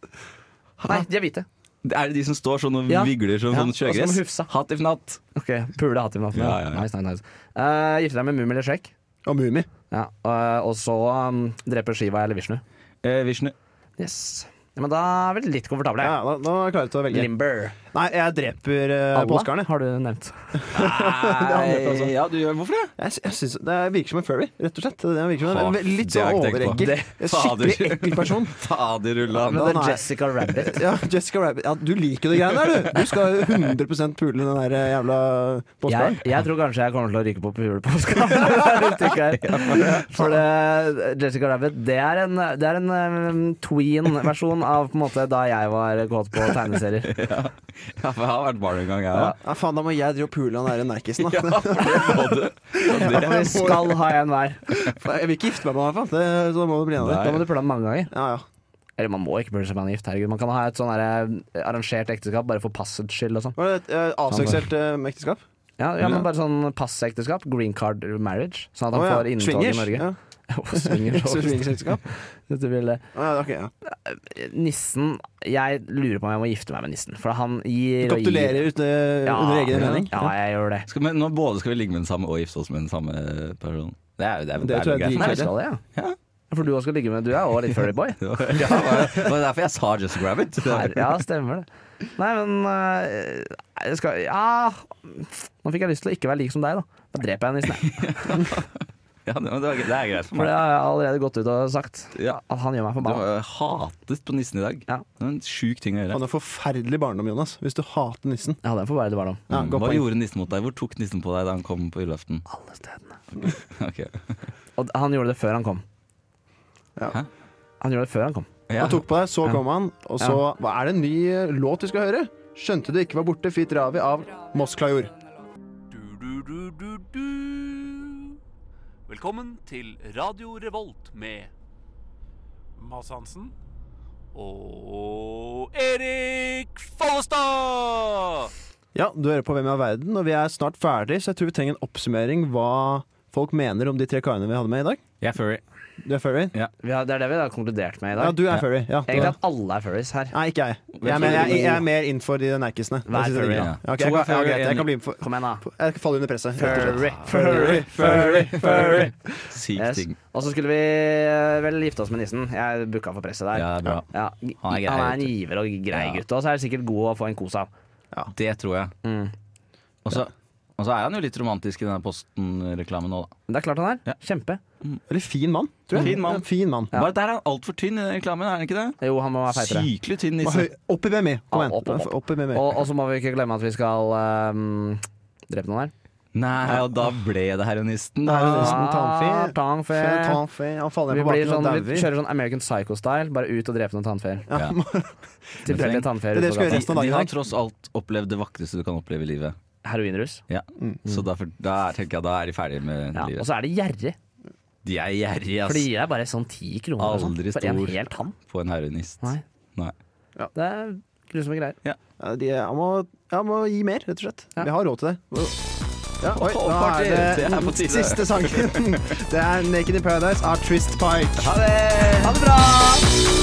[SPEAKER 1] Nei, de er hvite.
[SPEAKER 3] Er det de som står sånn og
[SPEAKER 1] Ja.
[SPEAKER 3] vigler som
[SPEAKER 1] Ja,
[SPEAKER 3] sånn
[SPEAKER 1] og så må
[SPEAKER 3] sjøgress?
[SPEAKER 1] de hufsa.
[SPEAKER 3] Hatt if natt.
[SPEAKER 1] Ok, Pule Hattifnattene.
[SPEAKER 3] Ja, ja, ja.
[SPEAKER 1] Nice, nice, nice. Eh, gifte deg med Mummi eller Sjekk?
[SPEAKER 2] Og Mummi.
[SPEAKER 1] Ja, eh, og så um, drepe Shiva eller Vishnu.
[SPEAKER 3] Eh, Vishnu.
[SPEAKER 1] Yes. Ja, men da er vi litt komfortable.
[SPEAKER 2] Ja, da, da er jeg klar til å velge.
[SPEAKER 1] Limber.
[SPEAKER 2] Nei, jeg dreper uh,
[SPEAKER 1] Allah
[SPEAKER 2] påskeharen. jeg.
[SPEAKER 1] har du nevnt.
[SPEAKER 2] det altså.
[SPEAKER 3] Nei, ja, du gjør Hvorfor det?
[SPEAKER 2] Jeg, sy- jeg synes, det virker som en furry, rett og slett. Det virker som en
[SPEAKER 3] Faen,
[SPEAKER 2] ve- Litt
[SPEAKER 3] det har jeg
[SPEAKER 2] sånn
[SPEAKER 3] ikke tenkt på.
[SPEAKER 2] overekkel.
[SPEAKER 3] Det-
[SPEAKER 2] En
[SPEAKER 3] fader.
[SPEAKER 2] Skikkelig ekkel person.
[SPEAKER 3] Faderullan.
[SPEAKER 1] Men
[SPEAKER 2] da,
[SPEAKER 1] det
[SPEAKER 2] nei.
[SPEAKER 1] er Jessica Rabbit.
[SPEAKER 2] [laughs] Ja, Jessica Rabbit. Ja, du liker det greiene der, du. Du skal 100 pule den der eh, jævla påskeharen.
[SPEAKER 1] Jeg, jeg tror kanskje jeg kommer til å ryke på pule på
[SPEAKER 2] [laughs]
[SPEAKER 1] [laughs] Oscar. For det, Jessica Rabbit, det er en, det er en um, tween-versjon av på en måte da jeg var kåt på
[SPEAKER 2] [laughs]
[SPEAKER 1] tegneserier.
[SPEAKER 3] Ja, for jeg har vært barn en gang, jeg
[SPEAKER 2] Ja.
[SPEAKER 3] òg.
[SPEAKER 2] Ja, faen, da må jeg drive og pule han der
[SPEAKER 1] [laughs]
[SPEAKER 2] nerkisen, da.
[SPEAKER 1] Og vi skal ha en hver.
[SPEAKER 2] Jeg vil ikke gifte meg med han, i hvert fall. Det- Så da må du bli enig.
[SPEAKER 1] Da
[SPEAKER 2] Da
[SPEAKER 1] må
[SPEAKER 2] må du-
[SPEAKER 1] du pule ham mange ganger.
[SPEAKER 2] Ja, ja.
[SPEAKER 1] Eller man må ikke pule seg man er gift. Herregud. Man kan ha et sånn her, eh, arrangert ekteskap bare for passets skyld og sånn.
[SPEAKER 2] Var det et eh, avseksuelt eh, ekteskap?
[SPEAKER 1] Ja, ja, men bare sånn passekteskap. Green card marriage. Sånn at han
[SPEAKER 2] Å, ja.
[SPEAKER 1] får inntog i
[SPEAKER 2] Swingers?
[SPEAKER 1] Norge. [laughs]
[SPEAKER 2] Ja. [laughs]
[SPEAKER 1] Swingers.
[SPEAKER 2] Swingersekteskap?
[SPEAKER 1] Hvis du vil det.
[SPEAKER 2] Å, Ja, ok,
[SPEAKER 1] [laughs]
[SPEAKER 2] ja.
[SPEAKER 1] Nissen Jeg lurer på om jeg må gifte meg med nissen, for han gir og gir.
[SPEAKER 2] Gratulerer uten, eh, under egen mening.
[SPEAKER 1] Ja, jeg gjør det.
[SPEAKER 3] Skal vi, nå både skal vi ligge med den samme og gifte oss med den samme personen. Det er jo det er,
[SPEAKER 2] Det
[SPEAKER 3] det er
[SPEAKER 2] tror
[SPEAKER 3] jo
[SPEAKER 2] jeg de-
[SPEAKER 3] greit.
[SPEAKER 1] Nei, vi skal det, ja.
[SPEAKER 3] Ja.
[SPEAKER 1] For du også skal ligge med Du er også litt furry
[SPEAKER 2] [laughs]
[SPEAKER 1] boy.
[SPEAKER 3] [laughs] Ja, det var- det var derfor jeg sa Just Grab It.
[SPEAKER 1] Her, ja, stemmer det. Nei, men eh, jeg skal, Ja Nå fikk jeg lyst til å ikke være lik som deg, da. Da dreper jeg nissen, jeg.
[SPEAKER 3] Ja, det, var- det var- det er greit for
[SPEAKER 1] For det
[SPEAKER 3] meg.
[SPEAKER 1] har jeg allerede gått ut og sagt.
[SPEAKER 3] Ja.
[SPEAKER 1] At han gjør meg
[SPEAKER 3] Du
[SPEAKER 1] forbanna.
[SPEAKER 3] har hatet på nissen i dag.
[SPEAKER 1] Ja.
[SPEAKER 3] Det er en sjuk ting å
[SPEAKER 2] Han
[SPEAKER 3] gjøre.
[SPEAKER 2] har forferdelig barndom, Jonas, hvis du hater nissen.
[SPEAKER 1] Ja, det er forferdelig barndom.
[SPEAKER 2] Ja,
[SPEAKER 3] Mm,
[SPEAKER 2] godt
[SPEAKER 3] Hva
[SPEAKER 2] poeng.
[SPEAKER 3] gjorde nissen mot deg? Hvor tok nissen på deg da han kom på julaften?
[SPEAKER 1] Alle stedene.
[SPEAKER 3] [laughs] Ok.
[SPEAKER 1] Og han gjorde det før han kom.
[SPEAKER 2] Ja.
[SPEAKER 3] Hæ?
[SPEAKER 1] Han gjorde det før han kom.
[SPEAKER 3] Ja.
[SPEAKER 2] Han tok på deg, så kom han, og så Hva er det en ny eh, låt vi skal høre? Skjønte du ikke var borte, fit ravi av Mosklajor.
[SPEAKER 10] Velkommen til Radio Revolt med Mads Hansen og Erik Follestad!
[SPEAKER 2] Ja, du hører på Hvem er verden, og vi er snart ferdig, så jeg tror vi trenger en oppsummering hva folk mener om de tre karene vi hadde med i dag.
[SPEAKER 3] Jeg er furry.
[SPEAKER 2] Du er furry?
[SPEAKER 1] Vi har, det er det vi har konkludert med i
[SPEAKER 2] Ja,
[SPEAKER 1] dag.
[SPEAKER 2] du er furry. Ja, du
[SPEAKER 1] Egentlig
[SPEAKER 2] er.
[SPEAKER 1] at alle er furries her.
[SPEAKER 2] Nei, ikke jeg. Jeg er mer, jeg, jeg er mer innenfor de nerkisene.
[SPEAKER 1] Vær
[SPEAKER 2] Jeg synes det
[SPEAKER 1] furry,
[SPEAKER 2] digger.
[SPEAKER 1] ja.
[SPEAKER 2] Ja, ok, jeg, kan- ja, greit, jeg kan bli med for
[SPEAKER 1] Kom igjen, da.
[SPEAKER 2] Jeg faller under presset. rett og slett.
[SPEAKER 1] Furry,
[SPEAKER 2] Furry, furry, furry.
[SPEAKER 3] Syk
[SPEAKER 1] Yes.
[SPEAKER 3] ting.
[SPEAKER 1] Og så skulle vi eh, vel gifte oss med nissen. Jeg booka for presset der.
[SPEAKER 3] Ja, det er bra.
[SPEAKER 1] Ja.
[SPEAKER 3] Han er grei,
[SPEAKER 1] Han er en
[SPEAKER 3] vet du.
[SPEAKER 1] giver og grei
[SPEAKER 3] Ja.
[SPEAKER 1] gutt, og så er det sikkert god å få en kos av.
[SPEAKER 3] Det tror jeg.
[SPEAKER 1] Mm.
[SPEAKER 3] Og så og så er han jo litt romantisk i denne Posten-reklamen nå, da.
[SPEAKER 1] Men det er klart han er.
[SPEAKER 3] Ja.
[SPEAKER 1] Kjempe.
[SPEAKER 2] Veldig fin mann, tror jeg.
[SPEAKER 3] Fin mann.
[SPEAKER 2] Ja, Fin mann.
[SPEAKER 3] Bare der er han altfor tynn i den reklamen, er han ikke det?
[SPEAKER 1] Jo, han må være feitere.
[SPEAKER 3] Sykelig tynn
[SPEAKER 2] Og
[SPEAKER 3] nisse.
[SPEAKER 2] høy- Opp i BMI. Kom
[SPEAKER 1] Ja, opp, opp,
[SPEAKER 2] igjen.
[SPEAKER 1] opp.
[SPEAKER 2] Opp i BMI.
[SPEAKER 1] Og, og så må vi ikke glemme at vi skal eh, ehm, drepe noen her.
[SPEAKER 3] Nei, og da ble det heroinisten.
[SPEAKER 2] Da er det
[SPEAKER 3] Da.
[SPEAKER 2] nesten
[SPEAKER 1] Ah,
[SPEAKER 2] tannfe.
[SPEAKER 1] Tannfe.
[SPEAKER 2] Tannfe. Han faller
[SPEAKER 1] Vi,
[SPEAKER 2] ned på
[SPEAKER 1] blir
[SPEAKER 2] bakken
[SPEAKER 1] sånn,
[SPEAKER 2] og
[SPEAKER 1] vi
[SPEAKER 2] dauer.
[SPEAKER 1] kjører sånn American Psycho-style. Bare ut og drepe noen tannfeer.
[SPEAKER 2] Ja.
[SPEAKER 1] Tilfeldige tannfeer.
[SPEAKER 2] Det er det
[SPEAKER 1] ute
[SPEAKER 2] vi skal gjøre
[SPEAKER 1] på gata.
[SPEAKER 2] resten av
[SPEAKER 3] De
[SPEAKER 2] dagen.
[SPEAKER 3] har
[SPEAKER 2] Henrik.
[SPEAKER 3] tross alt opplevd det vakreste du kan oppleve i livet.
[SPEAKER 1] Heroinrus.
[SPEAKER 3] Ja.
[SPEAKER 2] Mm.
[SPEAKER 3] Så derfor, da tenker jeg da er de ferdige med
[SPEAKER 1] Ja, og
[SPEAKER 3] livet.
[SPEAKER 1] så er de gjerrig.
[SPEAKER 3] De er gjerrige,
[SPEAKER 1] For de
[SPEAKER 3] ass.
[SPEAKER 1] gir deg bare sånn ti kroner og sånn,
[SPEAKER 3] Aldri
[SPEAKER 1] for en
[SPEAKER 3] stor
[SPEAKER 1] hel tann.
[SPEAKER 3] på en heroinist.
[SPEAKER 1] Nei.
[SPEAKER 3] Nei.
[SPEAKER 1] Det er grusomme greier.
[SPEAKER 2] Ja, de, jeg, må, jeg må gi mer, rett og slett. Vi har råd til det. Ja, oi,
[SPEAKER 3] Å,
[SPEAKER 2] da
[SPEAKER 3] party!
[SPEAKER 2] er
[SPEAKER 3] Det
[SPEAKER 2] det
[SPEAKER 3] er på tide. [laughs]
[SPEAKER 2] siste sangen. Det er 'Naked in Paradise' av Trist Pike.
[SPEAKER 3] Ha det!
[SPEAKER 2] Ha det bra!